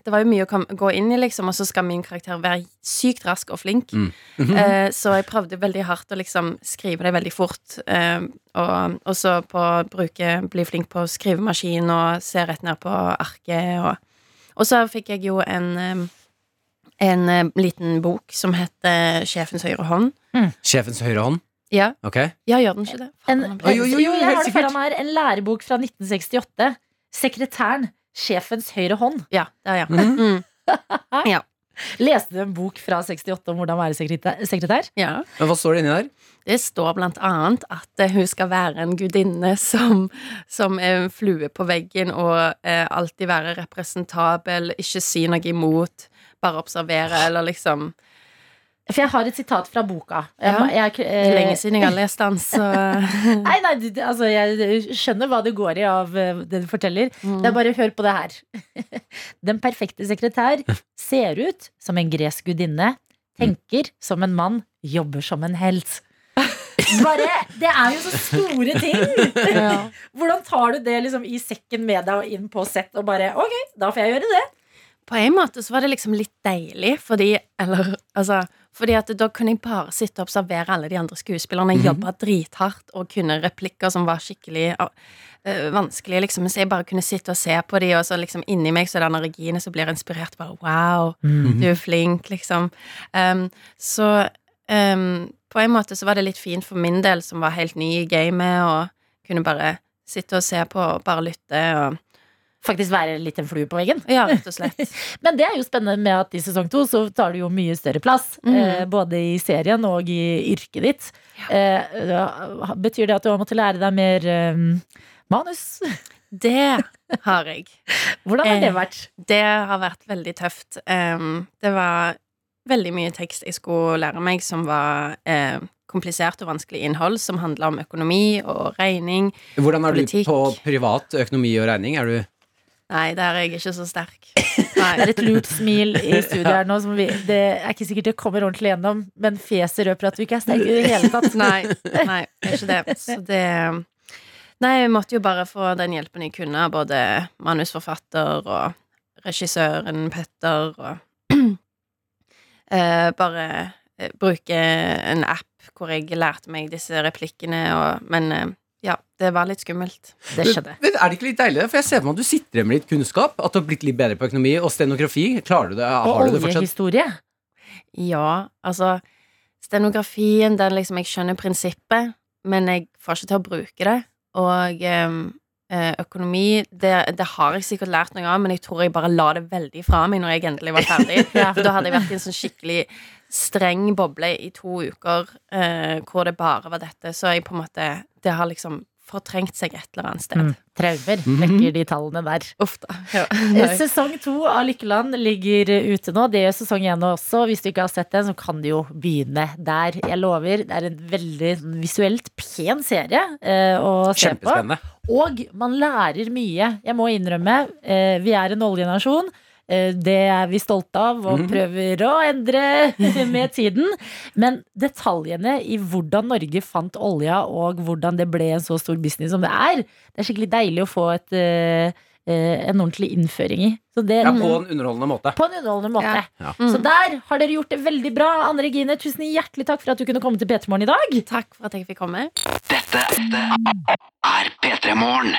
S6: Det var jo mye å kom, gå inn i, liksom, og så skal min karakter være sykt rask og flink.
S3: Mm.
S6: Eh, så jeg prøvde veldig hardt å liksom skrive det veldig fort. Eh, og og så på å bruke Bli flink på skrivemaskin og se rett ned på arket. Og, og så fikk jeg jo en eh, en eh, liten bok som heter 'Sjefens høyre hånd'.
S3: Sjefens høyre hånd.
S6: Ja,
S3: Ok.
S6: ja gjør den ikke det?
S2: En,
S6: Faen, den ble-
S3: Oi, oi, oi,
S2: jo, jeg
S3: helt
S2: har det
S3: sikkert.
S2: foran her. En lærebok fra 1968. Sekretæren. Sjefens høyre hånd.
S6: Ja, der, ja.
S3: Mhm.
S6: Mm. ja.
S2: Leste du en bok fra 68 om hvordan være sekretær? sekretær?
S6: ja.
S3: Men hva står det inni der?
S6: Det står blant annet at eh, hun skal være en gudinne som, som er en flue på veggen og eh, alltid være representabel, ikke si noe imot, bare observere eller liksom
S2: For jeg har et sitat fra boka.
S6: Ja.
S2: Jeg, jeg,
S6: Det er
S2: eh,
S6: lenge siden jeg har lest den, så
S2: Nei, nei, du- altså jeg skjønner hva det går i av eh, det du forteller.
S3: Mm.
S2: Det er bare hør på det her. Den perfekte sekretær ser ut som en gresk gudinne, tenker som en mann, jobber som en helt. Bare, Det er jo så store ting!
S6: ja.
S2: Hvordan tar du det liksom i sekken med deg og inn på sett og bare Ok, da får jeg gjøre det.
S6: På en måte så var det liksom litt deilig, fordi Eller, altså Fordi at da kunne jeg bare sitte og observere alle de andre skuespillerne. Jeg jobba drithardt og kunne replikker som var skikkelig øh, vanskelige, liksom. Så jeg bare kunne sitte og se på de, og så liksom inni meg så er det Anna Regine som blir inspirert. Bare wow, du er flink, liksom. Um, så um, på en måte så var det litt fint for min del, som var helt ny i gamet, og kunne bare sitte og se på og bare lytte og
S2: Faktisk være litt en flue på veggen.
S6: Ja, rett og slett.
S2: Men det er jo spennende med at i sesong to så tar du jo mye større plass.
S6: Mhm.
S2: Eh, både i serien og i yrket ditt. Eh, da- betyr det at du har måttet lære deg mer eh, manus?
S6: Det har jeg.
S2: Hvordan har det
S6: Eh.
S2: vært?
S6: Det har vært veldig tøft. Ehm, det var veldig mye tekst jeg skulle lære meg som var eh, komplisert og vanskelig innhold, som handla om økonomi og regning.
S3: Hvordan er
S6: Politikk.
S3: du på privat økonomi og regning? Er du
S6: Nei, der er jeg ikke så sterk.
S2: Det er
S6: Nei.
S2: et lurt smil i studio her nå. Som vi, det er ikke sikkert det kommer ordentlig gjennom, men fjeset røper at du ikke er sterk i det hele tatt.
S6: Nei, nei, det er ikke det. Så det Nei, jeg måtte jo bare få den hjelpen jeg kunne av både manusforfatter og regissøren Petter og eh, Bare eh, bruke en app hvor jeg lærte meg disse replikkene og Men eh, ja, det var litt skummelt.
S2: Det skjedde.
S3: Men Er det ikke litt deilig? For jeg ser for meg at du sitter igjen med litt kunnskap. At du har blitt litt bedre på økonomi og stenografi. Klarer du det?
S2: Og
S3: Har du det fortsatt?
S2: oljehistorie.
S6: Ja, altså Stenografien, den liksom Jeg skjønner prinsippet, men jeg får ikke til å bruke det. Og ehm, eh, økonomi, det, det har jeg sikkert lært noe av, men jeg tror jeg bare la det veldig fra meg når jeg endelig var ferdig.
S2: Ja.
S6: For da hadde jeg vært i en sånn skikkelig streng boble i to uker eh, hvor det bare var dette. Så jeg på en måte Det har liksom fortrengt seg et eller annet sted.
S2: Mm. Traumer
S3: Mhm.
S2: vekker de tallene der.
S6: Uff da. Ja.
S2: Eh, Sesong to av Lykkeland ligger eh, ute nå. Det gjør sesong én også. Hvis du ikke har sett den, så kan du jo begynne der. Jeg lover. Det er en veldig sånn visuelt pen serie eh, å se på.
S3: Kjempespennende.
S2: Og man lærer mye. Jeg må innrømme, eh, vi er en oljenasjon. Eh, det er vi stolte av og
S3: Mhm.
S2: prøver å endre med tiden. Men detaljene i hvordan Norge fant olja, og hvordan det ble en så stor business som det er, det er skikkelig deilig å få et, eh, eh, en ordentlig innføring i. Så det,
S3: Ja, på en underholdende måte.
S2: på en underholdende måte.
S3: Ja.
S6: Ja.
S2: Så der har dere gjort det veldig bra. Anne Regine, tusen hjertelig takk for at du kunne komme til P3morgen i dag.
S6: Takk for at jeg fikk komme.
S1: Dette er P3 Morgen.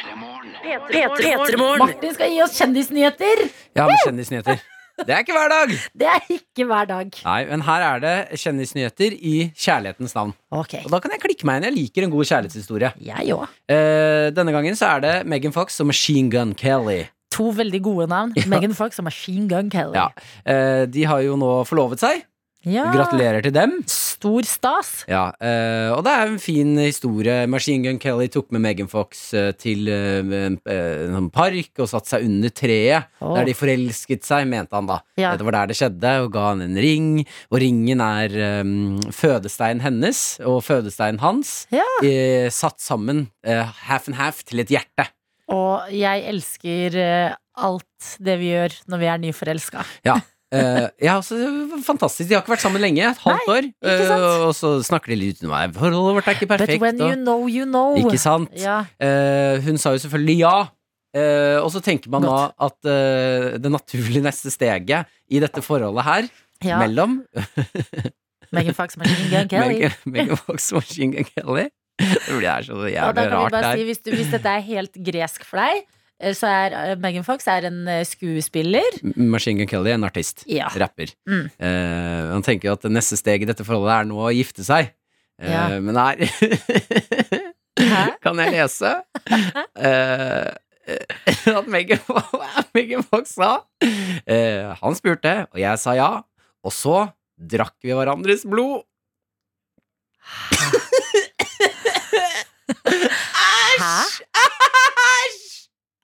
S2: Martin skal gi oss kjendisnyheter.
S3: Ja, med kjendisnyheter. Det er ikke hver dag!
S2: Det er ikke hver dag.
S3: Nei, men her er det kjendisnyheter i kjærlighetens navn.
S2: Ok,
S3: Og da kan jeg klikke meg inn. Jeg liker en god kjærlighetshistorie.
S2: jeg òg.
S3: Eh, denne gangen så er det Megan Fox og Machine Gun Kelly.
S2: To veldig gode navn. Megan Fox og Machine Gun Kelly.
S3: Ja. Eh, de har jo nå forlovet seg.
S2: Ja.
S3: Gratulerer til dem.
S2: Stor stas.
S3: Ja, eh, og det er jo en fin historie. Machine Gun Kelly tok med Megan Fox eh, til eh, en eh, en sånn park og satte seg under treet.
S2: Åh.
S3: Der de forelsket seg, mente han da.
S2: Ja.
S3: Det var der det skjedde, og ga han en ring. Og ringen er eh, fødesteinen hennes og fødesteinen hans
S2: Ja.
S3: eh, satt sammen eh, half and half til et hjerte.
S2: Og jeg elsker eh, alt det vi gjør når vi er nyforelska.
S3: Eh, ja, altså, det var fantastisk. De har ikke vært sammen lenge. Et halvt år.
S2: ikke sant?
S3: Eh, og så snakker de litt utenom meg. Forholdet vårt er ikke
S2: But
S3: perfekt.
S2: when you
S3: og,
S2: know, you know.
S3: ikke sant?
S2: Ja.
S3: Eh, hun sa jo selvfølgelig ja, Eh, og så tenker man da at eh, det naturlige neste steget i dette forholdet her,
S2: Ja.
S3: mellom
S2: Megan Fox Machine Gun Kelly.
S3: Meg- Megan Fox og Machine Gun Kelly Det blir her så
S2: Og da
S3: jævlig
S2: kan vi
S3: rart
S2: bare
S3: der.
S2: si, hvis, du, hvis dette er helt gresk for deg, eh, så er eh, Megan Fox er en eh, skuespiller.
S3: Machine Gun Kelly er en artist.
S2: Ja.
S3: Rapper.
S2: Mm.
S3: Eh, han tenker at det neste steg i dette forholdet er nå å gifte seg. Eh,
S2: Ja.
S3: Men her
S2: Hæ?
S3: kan jeg lese eh, at Megan, hva Megan Fox sa. Eh, han spurte, og jeg sa ja. Og så drakk vi hverandres blod.
S2: Æsj!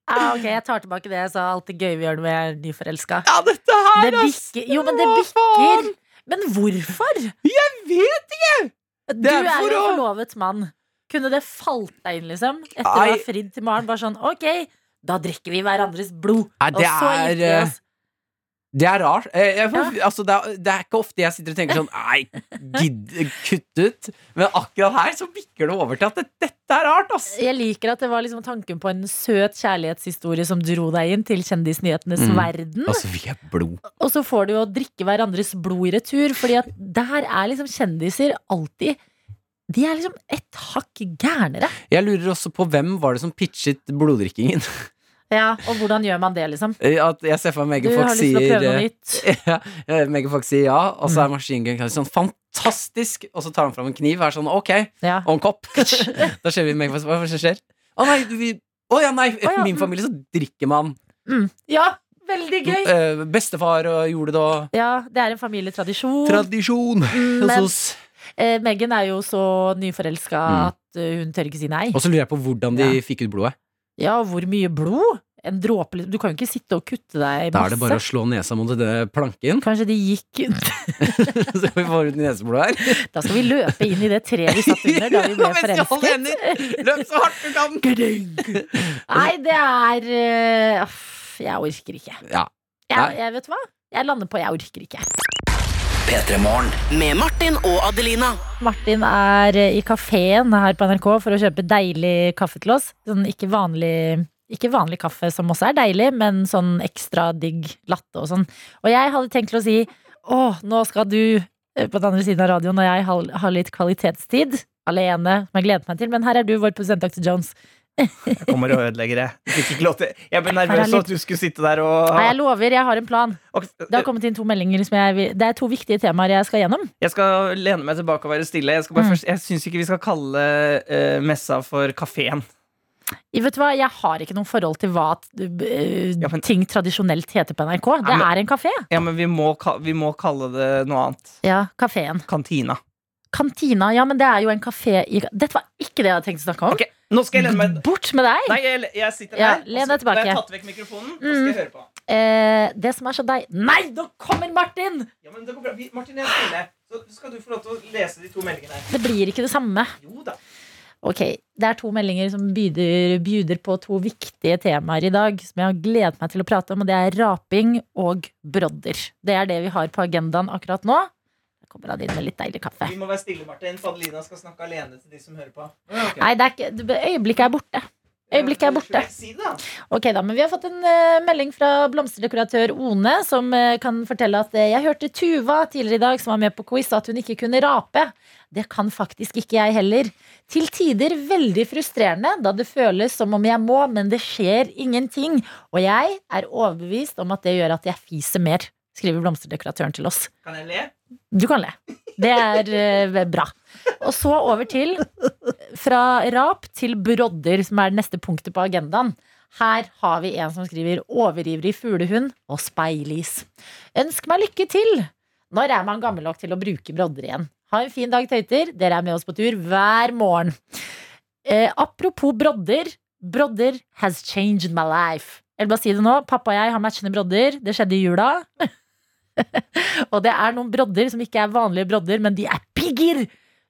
S2: Ah, ok, jeg tar tilbake det jeg sa. Alt det gøy vi gjør når vi er nyforelska.
S3: Ja, dette
S2: Det
S3: her, altså, ass!
S2: bikker. Jo, men det
S3: Hva
S2: bikker. Men hvorfor?
S3: Jeg vet
S2: Du er
S3: for
S2: jo
S3: å-
S2: forlovet mann. Kunne det falt deg inn, liksom? Etter å
S3: Nei.
S2: ha fridd til Maren? Bare sånn, ok, da drikker vi hverandres blod.
S3: Nei,
S2: og
S3: det
S2: så
S3: er, eh,
S2: gifter vi oss.
S3: Det er rart. Eh, Jeg, får- altså, det, er, det er ikke ofte jeg sitter og tenker sånn Nei, gidd, kutt ut. Men akkurat her så bikker det over til at det, dette er rart, ass.
S2: Jeg liker at det var liksom tanken på en søt kjærlighetshistorie som dro deg inn til kjendisnyhetenes
S3: Mm.
S2: verden.
S3: Altså, vi er blod.
S2: Og så får du jo drikke hverandres blod i retur, fordi at der er liksom kjendiser alltid De er liksom et hakk gærnere.
S3: Jeg lurer også på hvem var det som pitchet bloddrikkingen.
S2: Ja, Og hvordan gjør man det, liksom?
S3: Eh, At jeg ser for meg
S2: Du
S3: Megan
S2: har lyst
S3: Fox
S2: til å
S3: sier
S2: prøve noe
S3: eh,
S2: nytt.
S3: ja, eh, Megan Fox sier ja, og så er Machine Gun Kelly sånn fantastisk, og så tar han fram en kniv og er sånn ok,
S2: Ja.
S3: og en kopp. da ser vi Megan Fox, hva er det som skjer? Å nei, du, vi, å, ja, nei,
S2: ja,
S3: min
S2: mm.
S3: familie så drikker man.
S2: ja, veldig gøy!
S3: Eh, bestefar og gjorde det og
S2: Ja, det er en familietradisjon.
S3: Tradisjon
S2: men- eh, Megan er jo så nyforelska
S3: Mm.
S2: at eh, hun tør ikke si nei.
S3: Og så lurer jeg på hvordan de
S2: Ja.
S3: fikk ut blodet.
S2: Ja, og hvor mye blod? En dråpe liksom. Du kan jo ikke sitte og kutte deg
S3: Da er
S2: masse.
S3: det bare å slå nesa mot denne planken,
S2: Kanskje de gikk
S3: så vi får ut neseblodet her.
S2: Da skal vi løpe inn i det treet vi satt under da vi ble
S3: Med stjålne
S2: forelsket.
S3: Løp så hardt du kan!
S2: Nei, det er eh, aff, Jeg orker ikke.
S3: Ja.
S2: Jeg, jeg vet du hva? Jeg lander på jeg orker ikke.
S1: P3morgen.
S8: Med Martin og Adelina.
S2: Martin er eh, i kafeen her på NRK for å kjøpe deilig kaffe til oss. Sånn ikke vanlig ikke vanlig kaffe, som også er deilig, men sånn ekstra digg latte og sånn. Og jeg hadde tenkt til å si å, nå skal du eh, på den andre siden av radioen, og jeg har, har litt kvalitetstid alene, som jeg gledet meg til, men her er du, vår produsent Dr. Jones.
S4: Jeg kommer og ødelegger det. Du fikk ikke lov til Jeg ble
S2: Her er
S4: nervøs
S2: litt-
S4: for at du skulle sitte der og
S2: Nei, jeg lover, jeg har en plan.
S4: Ok,
S2: Det har kommet inn to meldinger som jeg vil Det er to viktige temaer jeg skal gjennom.
S4: Jeg skal lene meg tilbake og være stille. Jeg, skal bare
S2: Mm.
S4: først, jeg syns ikke vi skal kalle eh, messa for kafeen.
S2: Vet du hva, jeg har ikke noe forhold til hva eh,
S4: Ja, men-
S2: ting tradisjonelt heter på NRK. Det
S4: Nei, men-
S2: er en kafé.
S4: Ja, men vi må, ka- vi må kalle det noe annet.
S2: Ja, kafeen.
S4: Kantina.
S2: Kantina, ja, men det er jo en kafé i Dette var ikke det jeg hadde tenkt å snakke om.
S4: Ok, nå skal jeg lene meg
S2: Bort med deg!
S4: Nei, jeg, jeg sitter
S2: Ja,
S4: her. og
S2: len
S4: så-
S2: deg tilbake. Mm.
S4: Da har jeg tatt vekk mikrofonen, og så skal jeg høre på.
S2: Eh, det som er så deg... Nei, nå kommer Martin!
S4: Ja, men det går bra. Vi, Martin, jeg er stille. Så skal du få lov til å lese de to meldingene her.
S2: Det blir ikke det samme.
S4: Jo da.
S2: Ok, Det er to meldinger som byder, byder på to viktige temaer i dag som jeg har gledet meg til å prate om, og det er raping og brodder. Det er det vi har på agendaen akkurat nå. Da kommer han inn med litt deilig kaffe.
S4: Vi må være stille, Martin. Fadelina skal snakke alene til de som hører på.
S2: Nei, det er ikke, det- øyeblikket er borte. Øyeblikket er borte.
S4: Si det, da.
S2: Ok da, men Vi har fått en eh, melding fra blomsterdekoratør One, som eh, kan fortelle at eh, jeg hørte Tuva tidligere i dag, som var med på quiz, at hun ikke kunne rape. Det kan faktisk ikke jeg heller. Til tider veldig frustrerende, da det føles som om jeg må, men det skjer ingenting. Og jeg er overbevist om at det gjør at jeg fiser mer, skriver blomsterdekoratøren til oss.
S4: Kan jeg le?
S2: Du kan le. Det er eh, bra. Og så over til fra rap til brodder, som er det neste punktet på agendaen. Her har vi en som skriver 'overivrig fuglehund og speilis'. Ønsk meg lykke til! Når er man gammel nok til å bruke brodder igjen? Ha en fin dag, tøyter. Dere er med oss på tur hver morgen. Eh, apropos brodder. Brodder has changed my life. Jeg vil bare si det nå. Pappa og jeg har matchende brodder. Det skjedde i jula. Og det er noen brodder som ikke er vanlige brodder, men de er pigger!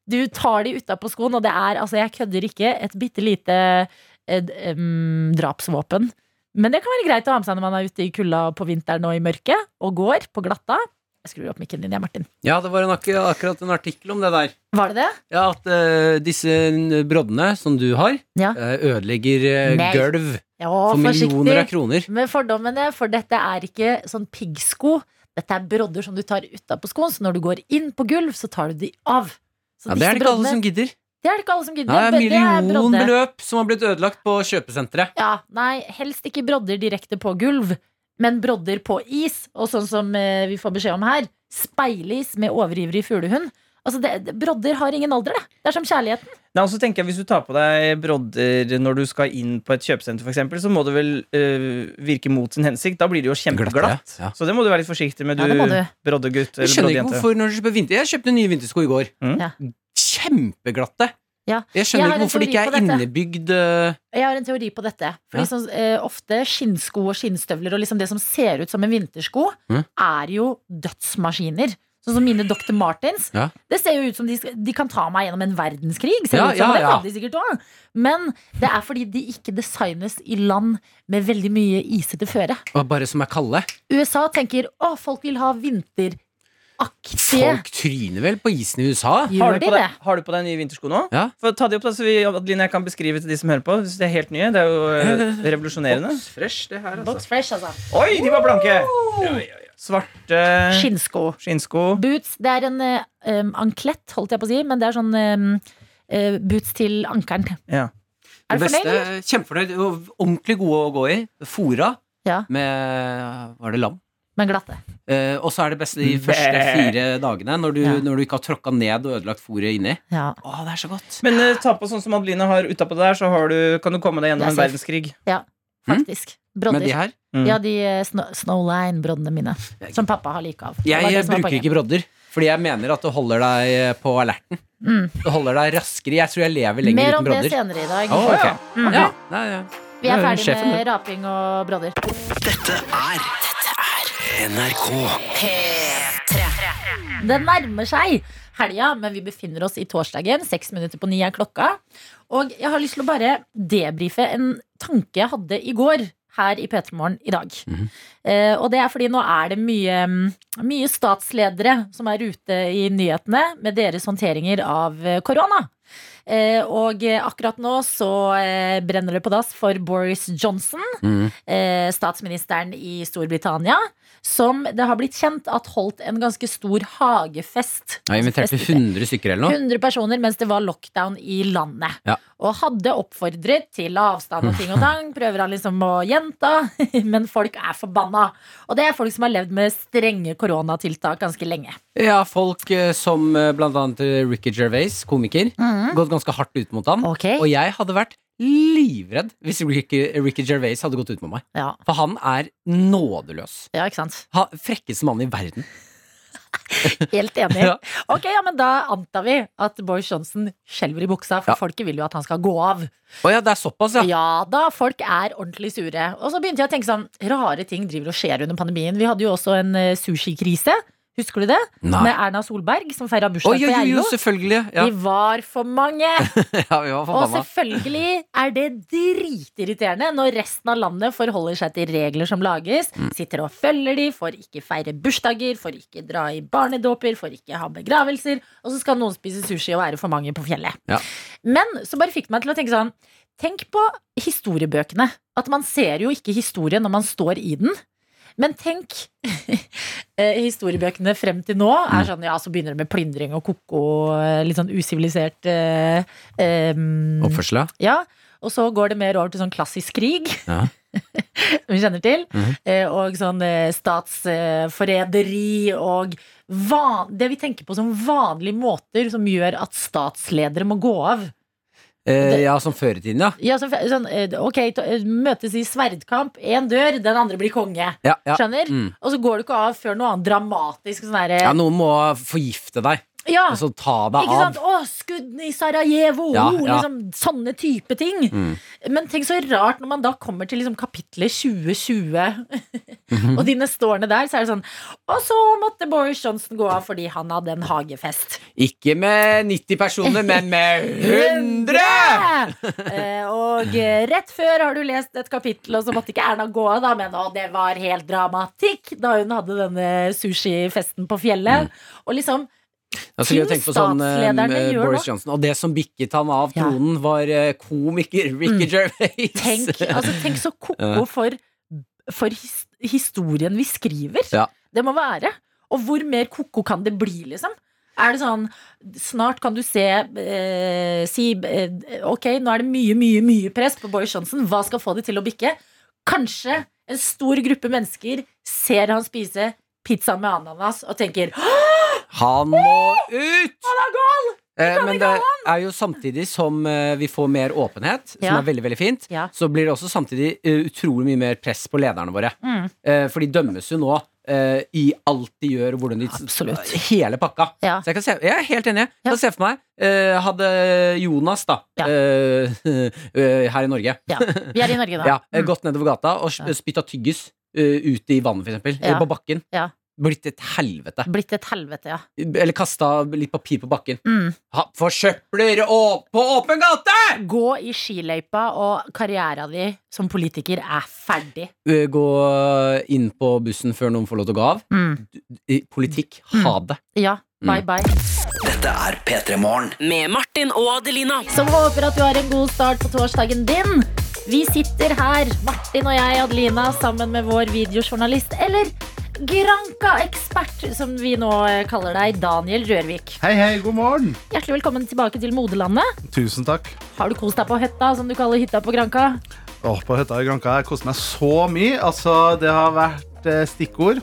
S2: Du tar de utapå skoen, og det er, altså jeg kødder ikke, et bitte lite eh, d- em, drapsvåpen. Men det kan være greit å ha med seg når man er ute i kulda på vinteren og i mørket, og går på glatta. Jeg skrur opp mikken din, jeg, Martin.
S3: Ja, det var en ak akkurat en artikkel om det der.
S2: Var det det?
S3: Ja, At eh, disse broddene som du har,
S2: Ja.
S3: eh, ødelegger eh,
S2: Nei.
S3: gulv
S2: Ja,
S3: For millioner av kroner.
S2: Med fordommene, for dette er ikke sånn piggsko. Dette er brodder som du tar utapå skoen, så når du går inn på gulv, så tar du de av. Så
S3: Ja, det er
S2: disse
S3: det ikke alle
S2: broddene-
S3: som gidder.
S2: det er det ikke alle som
S3: Det
S2: gidder.
S3: er
S2: men det er brodder.
S3: millionbeløp som har blitt ødelagt på kjøpesenteret.
S2: Ja, nei, helst ikke brodder direkte på gulv, men brodder på is. Og sånn som eh, vi får beskjed om her, speilis med overivrig fuglehund. Altså, det, det- brodder har ingen alder, det. Det er som kjærligheten.
S4: Nei, og så tenker jeg Hvis du tar på deg brodder når du skal inn på et kjøpesenter, for eksempel, så må det vel øh, virke mot sin hensikt. Da blir det jo kjempeglatt.
S3: Glatt, ja.
S4: Så det må du være litt forsiktig med,
S2: Ja,
S4: du,
S2: det må du.
S4: broddergutt
S3: Jeg
S4: eller
S3: skjønner ikke
S4: broddejente.
S3: hvorfor når du kjøper vinter Jeg kjøpte nye vintersko i går.
S4: Mm.
S2: Ja.
S3: Kjempeglatte.
S2: Ja.
S3: Jeg
S2: Jeg
S3: skjønner
S2: har en
S3: ikke hvorfor det ikke
S2: teori
S3: er
S2: på dette.
S3: innebygd eh,
S2: Jeg har en teori på dette. Fordi
S3: Ja.
S2: sånn, eh, ofte skinnsko og skinnstøvler og liksom det som ser ut som en vintersko,
S3: Mhm.
S2: er jo dødsmaskiner. Sånn som mine Dr. Martens.
S3: Ja.
S2: Det ser jo ut som de, skal- de kan ta meg gjennom en verdenskrig. Ser
S3: Ja,
S2: det ut som,
S3: ja,
S2: og det
S3: ja.
S2: kan de sikkert også. Men det er fordi de ikke designes i land med veldig mye isete føre.
S3: og bare som er kalde.
S2: USA tenker å, folk vil ha vinteraktige
S3: Folk tryner vel på isen i USA?
S4: Har
S2: Gjør
S4: du,
S2: de
S4: på
S2: det?
S4: deg, har du på deg nye vintersko nå?
S3: Ja.
S4: For Ta de opp, da, så vi, Adeline, jeg kan beskrive til de som hører på. Hvis det er helt nye. Det er jo øh, revolusjonerende.
S3: Fresh, det her,
S2: Box fresh, altså.
S4: Oi, de var blanke! Svarte
S2: Skinnsko.
S4: skinnsko.
S2: Boots, det er en eh, em, anklett, holdt jeg på å si, men det er sånn em, eh, boots til ankelen.
S4: Ja.
S2: Er du fornøyd? eller?
S3: Kjempefornøyd. og Ordentlig gode å gå i. Fora
S2: Ja,
S3: med Var det lam?
S2: men glatte.
S3: Eh, og så er det beste de første fire dagene, når du,
S2: Ja.
S3: når du ikke har tråkka ned og ødelagt fôret inni.
S2: Ja.
S3: Å, det er så godt.
S4: Men eh, ta på sånn som Adeline har utapå der, så har du, kan du komme deg gjennom
S2: Jeg
S4: en
S2: ser-
S4: verdenskrig.
S2: Faktisk. Brodder.
S3: Med Mm. de her
S4: Mm.
S2: Ja, de eh, sno- Snowline-broddene mine. Som pappa har like av. Det var
S3: Jeg,
S2: det som var
S3: bruker
S2: poenget.
S3: ikke brodder, fordi jeg mener at det holder deg på alerten.
S2: Mm.
S3: Det holder deg raskere. Jeg tror jeg lever lenger
S2: Mer om
S3: uten
S2: det
S3: brodder.
S2: senere i dag.
S3: Å, ok.
S2: Mm.
S3: ja. Nei, ja.
S2: Vi er
S3: Ja,
S2: ferdig
S3: sjefen,
S2: med raping og brodder.
S1: Dette er NRK.
S2: Det nærmer seg helga, men vi befinner oss i torsdagen. Seks minutter på ni er klokka. Og jeg har lyst til å bare debrife en tanke jeg hadde i går her i P3 Morgen i dag.
S3: Mhm.
S2: eh, og det er fordi nå er det mye, mm, mye statsledere som er ute i nyhetene med deres håndteringer av eh, korona. Eh, og eh, akkurat nå så eh, brenner det på dass for Boris Johnson
S3: Mhm.
S2: eh, statsministeren i Storbritannia, som det har blitt kjent at holdt en ganske stor hagefest.
S3: Jeg inviterte
S2: Fest-
S3: 100 stykker eller noe.
S2: 100 personer mens det var lockdown i landet.
S3: Ja.
S2: Og hadde oppfordret til avstand og ting og tang. Prøver han liksom å gjenta. Men folk er forbanna. Og det er folk som har levd med strenge koronatiltak ganske lenge.
S3: Ja, folk eh, som eh, blant annet eh, Ricky Gervais, komiker, gått ganske hardt ut mot han.
S2: Mhm. Ok.
S3: Og jeg hadde vært livredd hvis Ricky, eh, Ricky Gervais hadde gått ut mot meg.
S2: Ja,
S3: For han er nådeløs.
S2: ja ikke sant?
S3: Ha, frekkeste mann i verden.
S2: Helt enig.
S3: Ja.
S2: Ok, ja, men Da antar vi at Boris Johnson skjelver i buksa, for
S3: Ja.
S2: folket vil jo at han skal gå av.
S3: Å ja, det er såpass, ja.
S2: Ja da, folk er ordentlig sure. Og så begynte jeg å tenke sånn, rare ting driver og skjer under pandemien. Vi hadde jo også en eh, sushikrise, husker du det? Med Erna Solberg, som feira
S3: Å
S2: bursdag på
S3: jo, jo, jo,
S2: Geilo.
S3: selvfølgelig. Ja,
S2: Vi var for mange!
S3: ja vi var
S2: Og
S3: forbanna.
S2: selvfølgelig er det dritirriterende når resten av landet forholder seg til regler som lages,
S3: Mm.
S2: sitter og følger de, får ikke feire bursdager, får ikke dra i barnedåper, får ikke ha begravelser, og så skal noen spise sushi og være for mange på fjellet.
S3: Ja.
S2: Men så bare fikk det meg til å tenke sånn Tenk på historiebøkene. At man ser jo ikke historien når man står i den. Men tenk eh, Historiebøkene frem til nå
S3: Mm.
S2: er sånn, ja, så begynner det med plyndring og koko og eh, litt sånn usivilisert eh, em,
S3: Oppførsel,
S2: ja,
S3: ja.
S2: og så går det mer over til sånn klassisk krig.
S3: Ja.
S2: Som vi kjenner til.
S3: Mhm.
S2: eh, Og sånn eh, statsforræderi og van det vi tenker på som vanlige måter som gjør at statsledere må gå av.
S3: Eh, ja, som før i tiden, ja.
S2: Ja, sånn, sånn eh, ok, to- eh, møtes i sverdkamp. Én dør, den andre blir konge.
S3: Ja, ja.
S2: Skjønner?
S3: Mm.
S2: Og så går du ikke av før noe annet dramatisk. Sånn derre
S3: ja, noen må forgifte deg,
S2: Ja,
S3: og så Altså, ta deg
S2: ikke sant?
S3: av.
S2: Å, skuddene i Sarajevo!
S3: Ja,
S2: oh,
S3: ja.
S2: Liksom, sånne type ting.
S3: Mm.
S2: Men tenk så rart når man da kommer til liksom kapitlet 2020,
S3: Mhm.
S2: og de neste årene der, så er det sånn Og så måtte Boris Johnson gå av fordi han hadde en hagefest.
S3: Ikke med 90 personer, men med 100!
S2: Eh, og eh, rett før har du lest et kapittel, og så måtte ikke Erna gå av, da, men å, det var eh, helt dramatikk da hun hadde denne sushifesten på fjellet. Og liksom
S3: Altså, jeg
S2: Ting
S3: tenker på sånn eh,
S2: statslederne
S3: med
S2: gjør
S3: Boris
S2: nå.
S3: Johnson. Og det som bikket han av
S2: Ja. Mm.
S3: tronen, var eh, komiker Ricky Gervais.
S2: Tenk, altså, tenk så ko-ko for, for his, historien vi skriver.
S3: Ja.
S2: Det må være. Og hvor mer ko-ko kan det bli, liksom? Er det sånn Snart kan du se eh, Si eh, Ok, nå er det mye, mye, mye press på Boris Johnson. Hva skal få det til å bikke? Kanskje en stor gruppe mennesker ser han spise pizza med ananas og tenker «Hå,
S3: Han må ut! Han
S2: er
S3: gal! Men det er jo samtidig som eh, vi får mer åpenhet, som
S2: Ja.
S3: er veldig veldig fint,
S2: Ja.
S3: så blir det også samtidig eh, utrolig mye mer press på lederne våre.
S2: Mm.
S3: Eh, For de dømmes jo nå eh, i alt de gjør, og hvordan de
S2: Absolutt.
S3: Hele pakka.
S2: Ja.
S3: Så jeg, kan se, jeg er helt enig. Jeg
S2: Ja.
S3: kan se for meg eh, Hadde Jonas, da,
S2: Ja.
S3: eh, eh, her i Norge
S2: Ja, vi er i Norge nå.
S3: ja, eh,
S2: Mm.
S3: gått nedover gata og
S2: Ja.
S3: sp- spytta tyggis eh, ut i vannet, for eksempel.
S2: Ja.
S3: Eller på bakken.
S2: Ja.
S3: Blitt et helvete.
S2: Mm. Blitt et helvete, ja.
S3: Eller kasta litt papir på bakken.
S2: Mm.
S3: Ha, forsøpler å- på åpen gate!
S2: Gå i skiløypa, og karriera di som politiker er ferdig.
S3: Eh, Gå inn på bussen før noen får lov til å gå av. I politikk, ha det.
S2: Ja, bye
S3: Mm.
S2: bye.
S1: Dette er P3 Morgen.
S8: Med Martin og Adelina.
S2: Så håper at du har en god start på torsdagen din. Vi sitter her, Martin og jeg, Adelina, sammen med vår videojournalist, eller Granka-ekspert, som vi nå eh, kaller deg, Daniel Rørvik.
S9: Hei, hei, god morgen!
S2: Hjertelig velkommen tilbake til moderlandet.
S9: Tusen takk.
S2: Har du kost deg på høtta, som du kaller hytta på Granka?
S9: Åh, på hytta i Granka har kost meg så mye. Altså, det har vært eh, stikkord.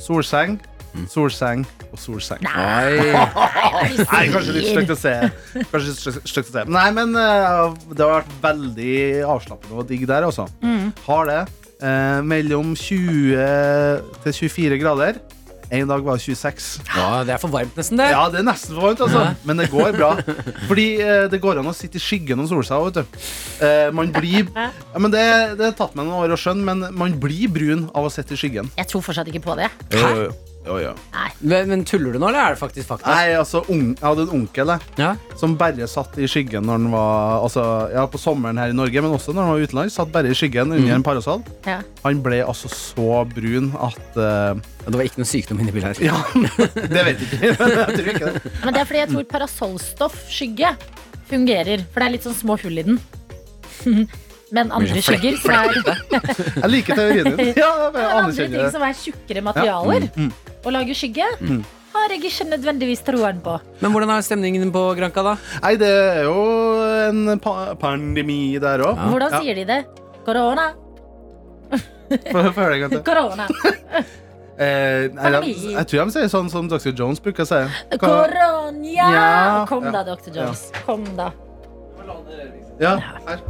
S9: Solseng, solseng og solseng. Nei, kanskje litt stygt å se. Kanskje litt stygt- stygt å se. Nei, men eh, det har vært veldig avslappende og digg der, altså. Har det. Eh, mellom 20 til 24 grader. En dag var det 26.
S3: Ja, det er for varmt, nesten, det.
S9: Ja, det er nesten for varmt, altså. Men det går bra. Fordi eh, det går an å sitte i skyggen og sole seg òg, vet du. Eh, man blir ja, men det, det har tatt meg noen år å skjønne, men man blir brun av å sitte i skyggen.
S2: Jeg tror fortsatt ikke på det.
S9: Hæ? Jo, jo.
S3: Men, men tuller du nå, eller er det faktisk fakta?
S9: Nei, altså, ung- jeg hadde en onkel jeg,
S3: Ja.
S9: som bare satt i skyggen når han var altså, ja, på sommeren her i Norge, men også når han var utenlands. Satt bare i skyggen under en parasoll.
S2: Ja.
S9: Han ble altså så brun at eh,
S3: Det var ikke noe sykdom inni bildet her.
S9: Ja, det vet jeg ikke. Men jeg tror ikke det.
S2: Men det er fordi jeg tror parasollstoff, skygge, fungerer. For det er litt sånn små hull i den. Men andre
S3: Mye flek-
S2: skygger som er,
S9: Jeg liker teorien din. Ja, jeg bare
S2: men andre
S9: anerkjenner
S2: ting
S9: det. Mm,
S2: som er tjukkere materialer, å lage skygge, har jeg ikke nødvendigvis troen på.
S3: Men hvordan er stemningen på Granka, da?
S9: Nei, det er jo en pa pandemi der òg.
S3: Ja.
S2: Hvordan sier de det? Korona,
S9: Få få høre det en gang til.
S2: korona,
S9: Eh, nei, de,
S2: Pandemi.
S9: jeg tror de sier sånn som Dr. Jones bruker å si. Hva-
S2: korona!
S9: Ja.
S2: Kom da,
S9: Ja.
S2: dr. Jones. Kom da.
S9: Ja, her.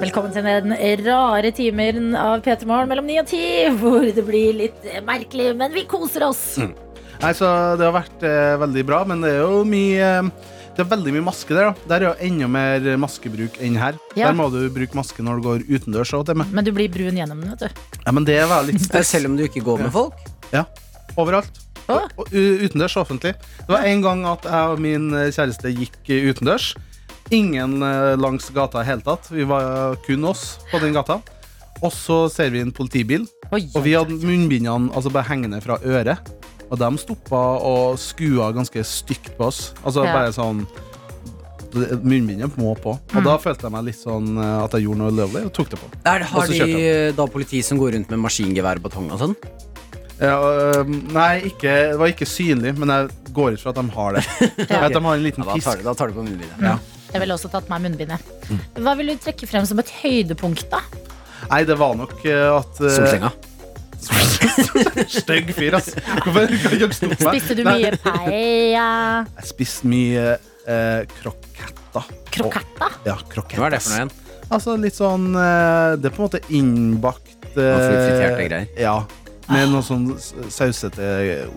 S2: Velkommen til den rare timen av P3 Morgen mellom 9 og 10, hvor det blir litt merkelig, men vi koser oss.
S9: Mm. Nei, så det har vært eh, veldig bra, men det er jo mye eh, det er veldig mye maske der. da Der er jo enda mer maskebruk enn her.
S2: Ja.
S9: Der må du bruke maske når du går utendørs. og til og med.
S2: Men du blir brun gjennom den, vet du.
S9: Ja, men det var litt stress
S3: Eh, Selv om du ikke går med folk?
S9: overalt.
S2: Å.
S9: Og- og u- Utendørs og offentlig. Det var en gang at jeg og min eh, kjæreste gikk utendørs. Ingen eh, langs gata i hele tatt. Vi var kun oss på den gata. Og så ser vi en politibil,
S2: Oi,
S9: og vi hadde munnbindene altså, bare hengende fra øret. Og de stoppa og skua ganske stygt på oss. Altså
S2: Ja.
S9: bare sånn Munnbindet må på.
S2: Mm.
S9: Og da følte jeg meg litt sånn eh, at jeg gjorde noe lovlig, og tok det på.
S3: Er, har
S9: Og så kjørte
S3: de eh, da politi som går rundt med maskingevær og batong og sånn?
S9: Ja, øh, nei, ikke, det var ikke synlig, men jeg går ut fra at de har det. At de har en liten
S3: Ja, da, tar
S9: fisk.
S3: du, da tar du på munnbindet.
S2: Jeg ville også tatt meg munnbindet.
S9: Mm.
S2: Hva vil du trekke frem som et høydepunkt, da?
S9: Nei, det var nok øh,
S3: Eh,
S9: at øh,
S3: Solsenga.
S9: Stygg fyr, ass. Hvorfor kan ikke dere stoppe meg?
S2: Spiste du
S9: Nei,
S2: mye paella?
S9: Jeg spiste mye øh, kroketter.
S2: Kroketta?
S9: Ja, kroketter.
S3: Hva er det for noe igjen?
S9: eh, Altså litt sånn øh, Det er på en måte innbakt øh,
S3: friterte greier.
S9: Ja. med noe sånn s- sausete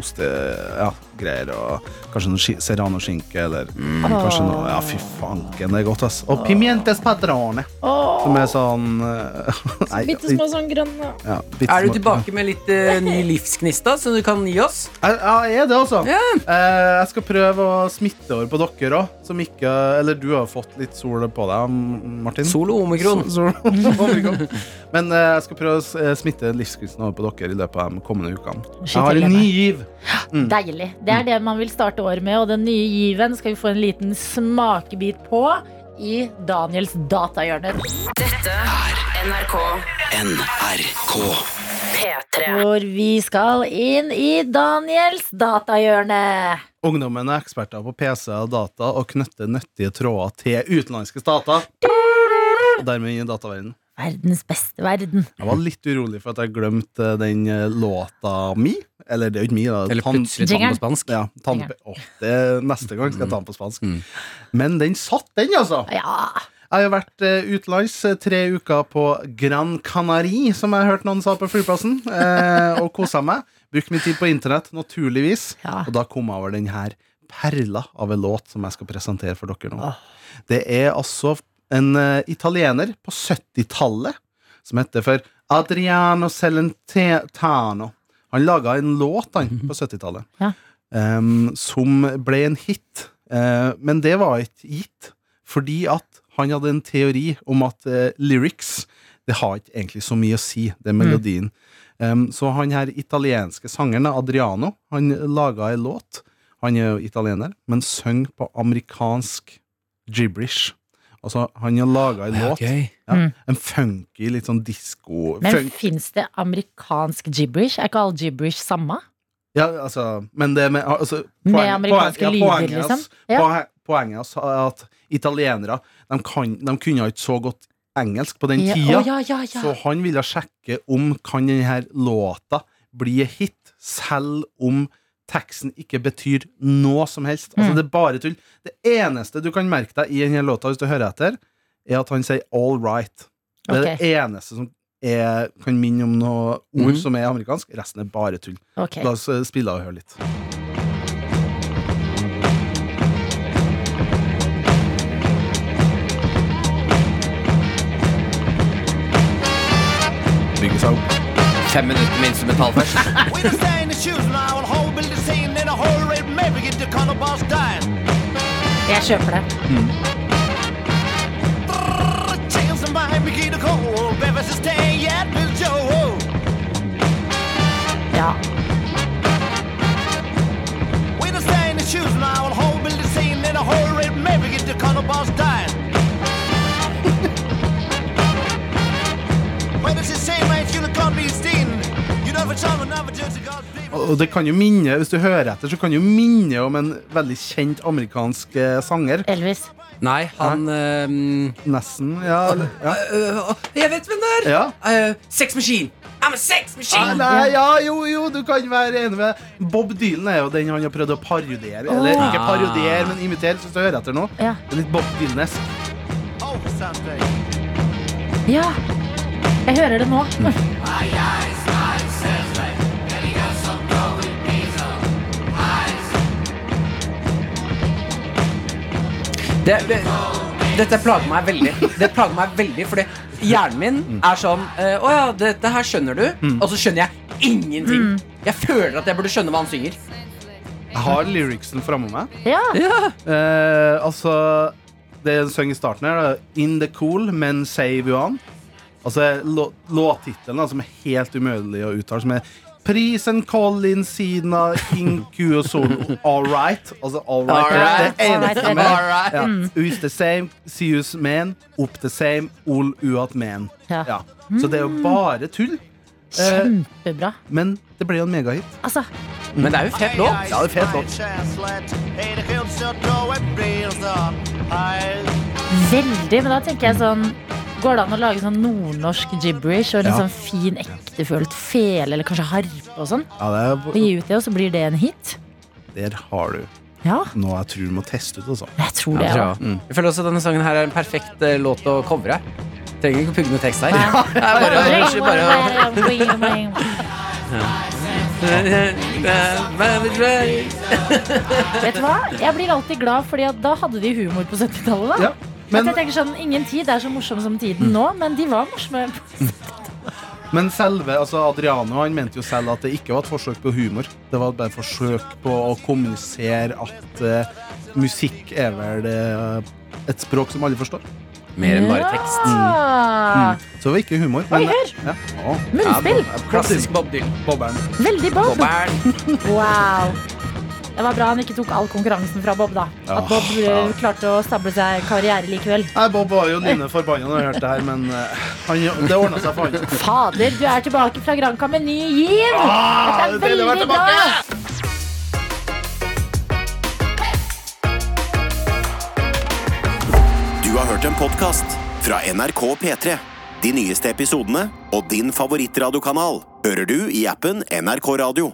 S9: ostegreier. og kanskje noe ski- serranoskinke eller
S3: Mm.
S9: kanskje noe Ja, fy fanken, det er godt, ass. Og pimientes patrone, som er sånn eh, nei,
S10: Bitte små sånn grønne.
S9: ja, bittesmå-
S3: Er du tilbake med litt eh, ny livsgnist, da, som du kan gi oss?
S9: Jeg, ja, jeg er det, altså. Eh, jeg skal prøve å smitte over på dere òg, som ikke Eller du har fått litt sol på deg, M- Martin.
S3: Solo omikron.
S9: Sol- sol- omikron. Men eh, jeg skal prøve å s- eh, smitte livskunsten over på dere i løpet av de kommende ukene. Jeg har en ny giv.
S2: Deilig. Det er det man vil starte året med, og den nye given skal vi få en liten smakebit på i Daniels datahjørne.
S1: NRK.
S2: Hvor vi skal inn i Daniels datahjørne.
S9: Ungdommen er eksperter på PC og data og knytter nyttige tråder til utenlandske stater. Og dermed inn i dataverdenen.
S2: Verdens beste verden.
S9: Jeg var litt urolig for at jeg glemte eh, den eh, låta mi. Eller det er jo ikke mi, da.
S3: Eller
S9: Tan-
S3: plutselig ta den på spansk.
S9: Ja, tann... Åh, det, neste gang skal jeg ta den på spansk. Men den satt, den, altså!
S2: Ja.
S9: Jeg har jo vært eh, utenlands eh, tre uker på Gran Canari, som jeg hørte noen sa på flyplassen, eh, og kosa meg. Brukt mye tid på internett, naturligvis.
S2: Ja.
S9: Og da kom jeg over den her perla av en låt som jeg skal presentere for dere nå. Det er altså en eh, italiener på 70-tallet som heter for Adriano Celentano. Han laga en låt han på 70-tallet
S2: Ja.
S9: em, som ble en hit. Eh, men det var ikke gitt, fordi at han hadde en teori om at eh, lyrics det har ikke egentlig så mye å si, det er melodien. Em, så han her italienske sangeren, Adriano, han laga ei låt. Han er jo italiener, men synger på amerikansk gibberish. Altså, han har laga ei låt ja.
S2: Mm.
S9: En funky, litt sånn disko
S2: Men
S9: funk.
S2: fins det amerikansk gibberish? Er ikke all gibberish samme?
S9: Ja, altså, men det med altså,
S2: Med amerikanske lyder, liksom. Ja.
S9: Poenget, poenget altså, er at italienere de, kan, de kunne ikke så godt engelsk på den
S2: Ja,
S9: tida.
S2: å, ja, ja, ja.
S9: Så han ville sjekke om kan denne låta bli en hit, selv om teksten ikke betyr noe som helst. Altså,
S2: Mm.
S9: det er bare tull. Det eneste du kan merke deg i denne låta, hvis du hører etter, er at han sier 'all right'. Det er det eneste som er, kan minne om noe ord
S3: Mhm.
S9: som er amerikansk. Resten er bare tull.
S2: Mm. Ok.
S9: La oss eh, spille av og høre litt. Bygge seg opp.
S3: Fem minutter med instrumental først.
S2: Jeg kjøper det. Ja.
S9: Og og det kan jo minne, Hvis du hører etter, så kan det jo minne om en veldig kjent amerikansk eh, sanger.
S2: Elvis.
S3: Nei, han ehm,
S2: Eh.
S9: Nesten. Ja. eller- ja.
S3: øh, øh, Jeg vet hvem det er!
S9: ja.
S3: Uh, sex machine! I'm a sex
S9: Ah,
S3: machine!
S9: nei, ja, jo, jo, du kan være enig med Bob Dylan er jo den han har prøvd å parodiere. Eller ikke parodiere, men imitere. Hvis du hører etter nå.
S2: Ja.
S9: Det er Litt Bob Dylan-esk.
S2: ja. Jeg hører det nå.
S3: Ah, Det, det, dette plager meg veldig. Det plager meg veldig Fordi hjernen min er sånn eh, Å ja, dette her skjønner du. Og så skjønner jeg ingenting. Jeg føler at jeg burde skjønne hva han synger.
S9: Jeg har lyricsen framme meg.
S2: Ja.
S9: Eh, altså Det er en sang i starten her. da. In the cool, men save you on. Altså lå- låttittelen, da, som er helt umulig å uttale, som er Prisen Colin Sina Inku og Sol. All right. Altså, all right.
S3: Alright.
S9: Det er det eneste
S2: Alright,
S9: som er.
S2: alright.
S9: Ja. Us the same, sius men, up the same, ol uat men.
S2: Ja. Mm.
S9: Ja. Så det er jo bare tull. Eh,
S2: Kjempebra.
S9: Men det ble jo en megahit.
S2: Altså,
S3: Men det er jo fett låt.
S9: Ja, det er fet låt.
S2: veldig. Men da tenker jeg sånn Går det an å lage sånn nordnorsk gibberish og litt
S9: Ja.
S2: sånn fin, ektefølt fele eller kanskje harpe og sånn?
S9: Ja,
S2: Og
S9: det
S2: gi ut det, og så blir det en hit?
S9: er, der har du
S2: Ja,
S9: noe jeg tror du må teste ut, altså.
S2: jeg tror det.
S3: Ja,
S2: Ja,
S3: tror jeg, også. jeg føler også at denne sangen her er en perfekt eh, låt å covre. Trenger ikke å pugge noe tekst her.
S2: Nei.
S3: Det er bare, bare,
S2: Ring, ring, ring, ring. Vet du hva? Jeg blir alltid glad, Fordi at da hadde de humor på 70-tallet. da
S9: Ja, men-
S2: At jeg tenker sånn, Ingen tid er så morsom som
S3: Mm.
S2: tiden nå, men de var morsomme.
S9: Men selve, altså Adriano han mente jo selv at det ikke var et forsøk på humor. Det var bare et forsøk på å kommunisere at eh, musikk er vel eh, et språk som alle forstår.
S3: Mer enn bare tekst. Mm.
S2: Ja.
S9: Så det var ikke humor.
S2: Oi,
S9: men-
S2: hør!
S9: Ja. Å,
S2: Munnspill.
S3: Klassisk Bob Dylan.
S9: bobberen.
S2: Veldig Bob.
S3: Bobbern.
S2: Wow. Det var bra han ikke tok all konkurransen fra Bob, da.
S9: Ah,
S2: At Bob eh, klarte å stable seg karriere likevel.
S9: Nei, Bob var jo nynne forbanna når han hørte det her, men eh, han, det ordna seg for han.
S2: Fader, du er tilbake fra Granca med ny giv! Dette er
S9: Ah, det er deilig å være
S2: veldig bra!
S10: Du har hørt en podcast fra NRK P3. De nyeste episodene og din favorittradiokanal hører du i appen NRK Radio.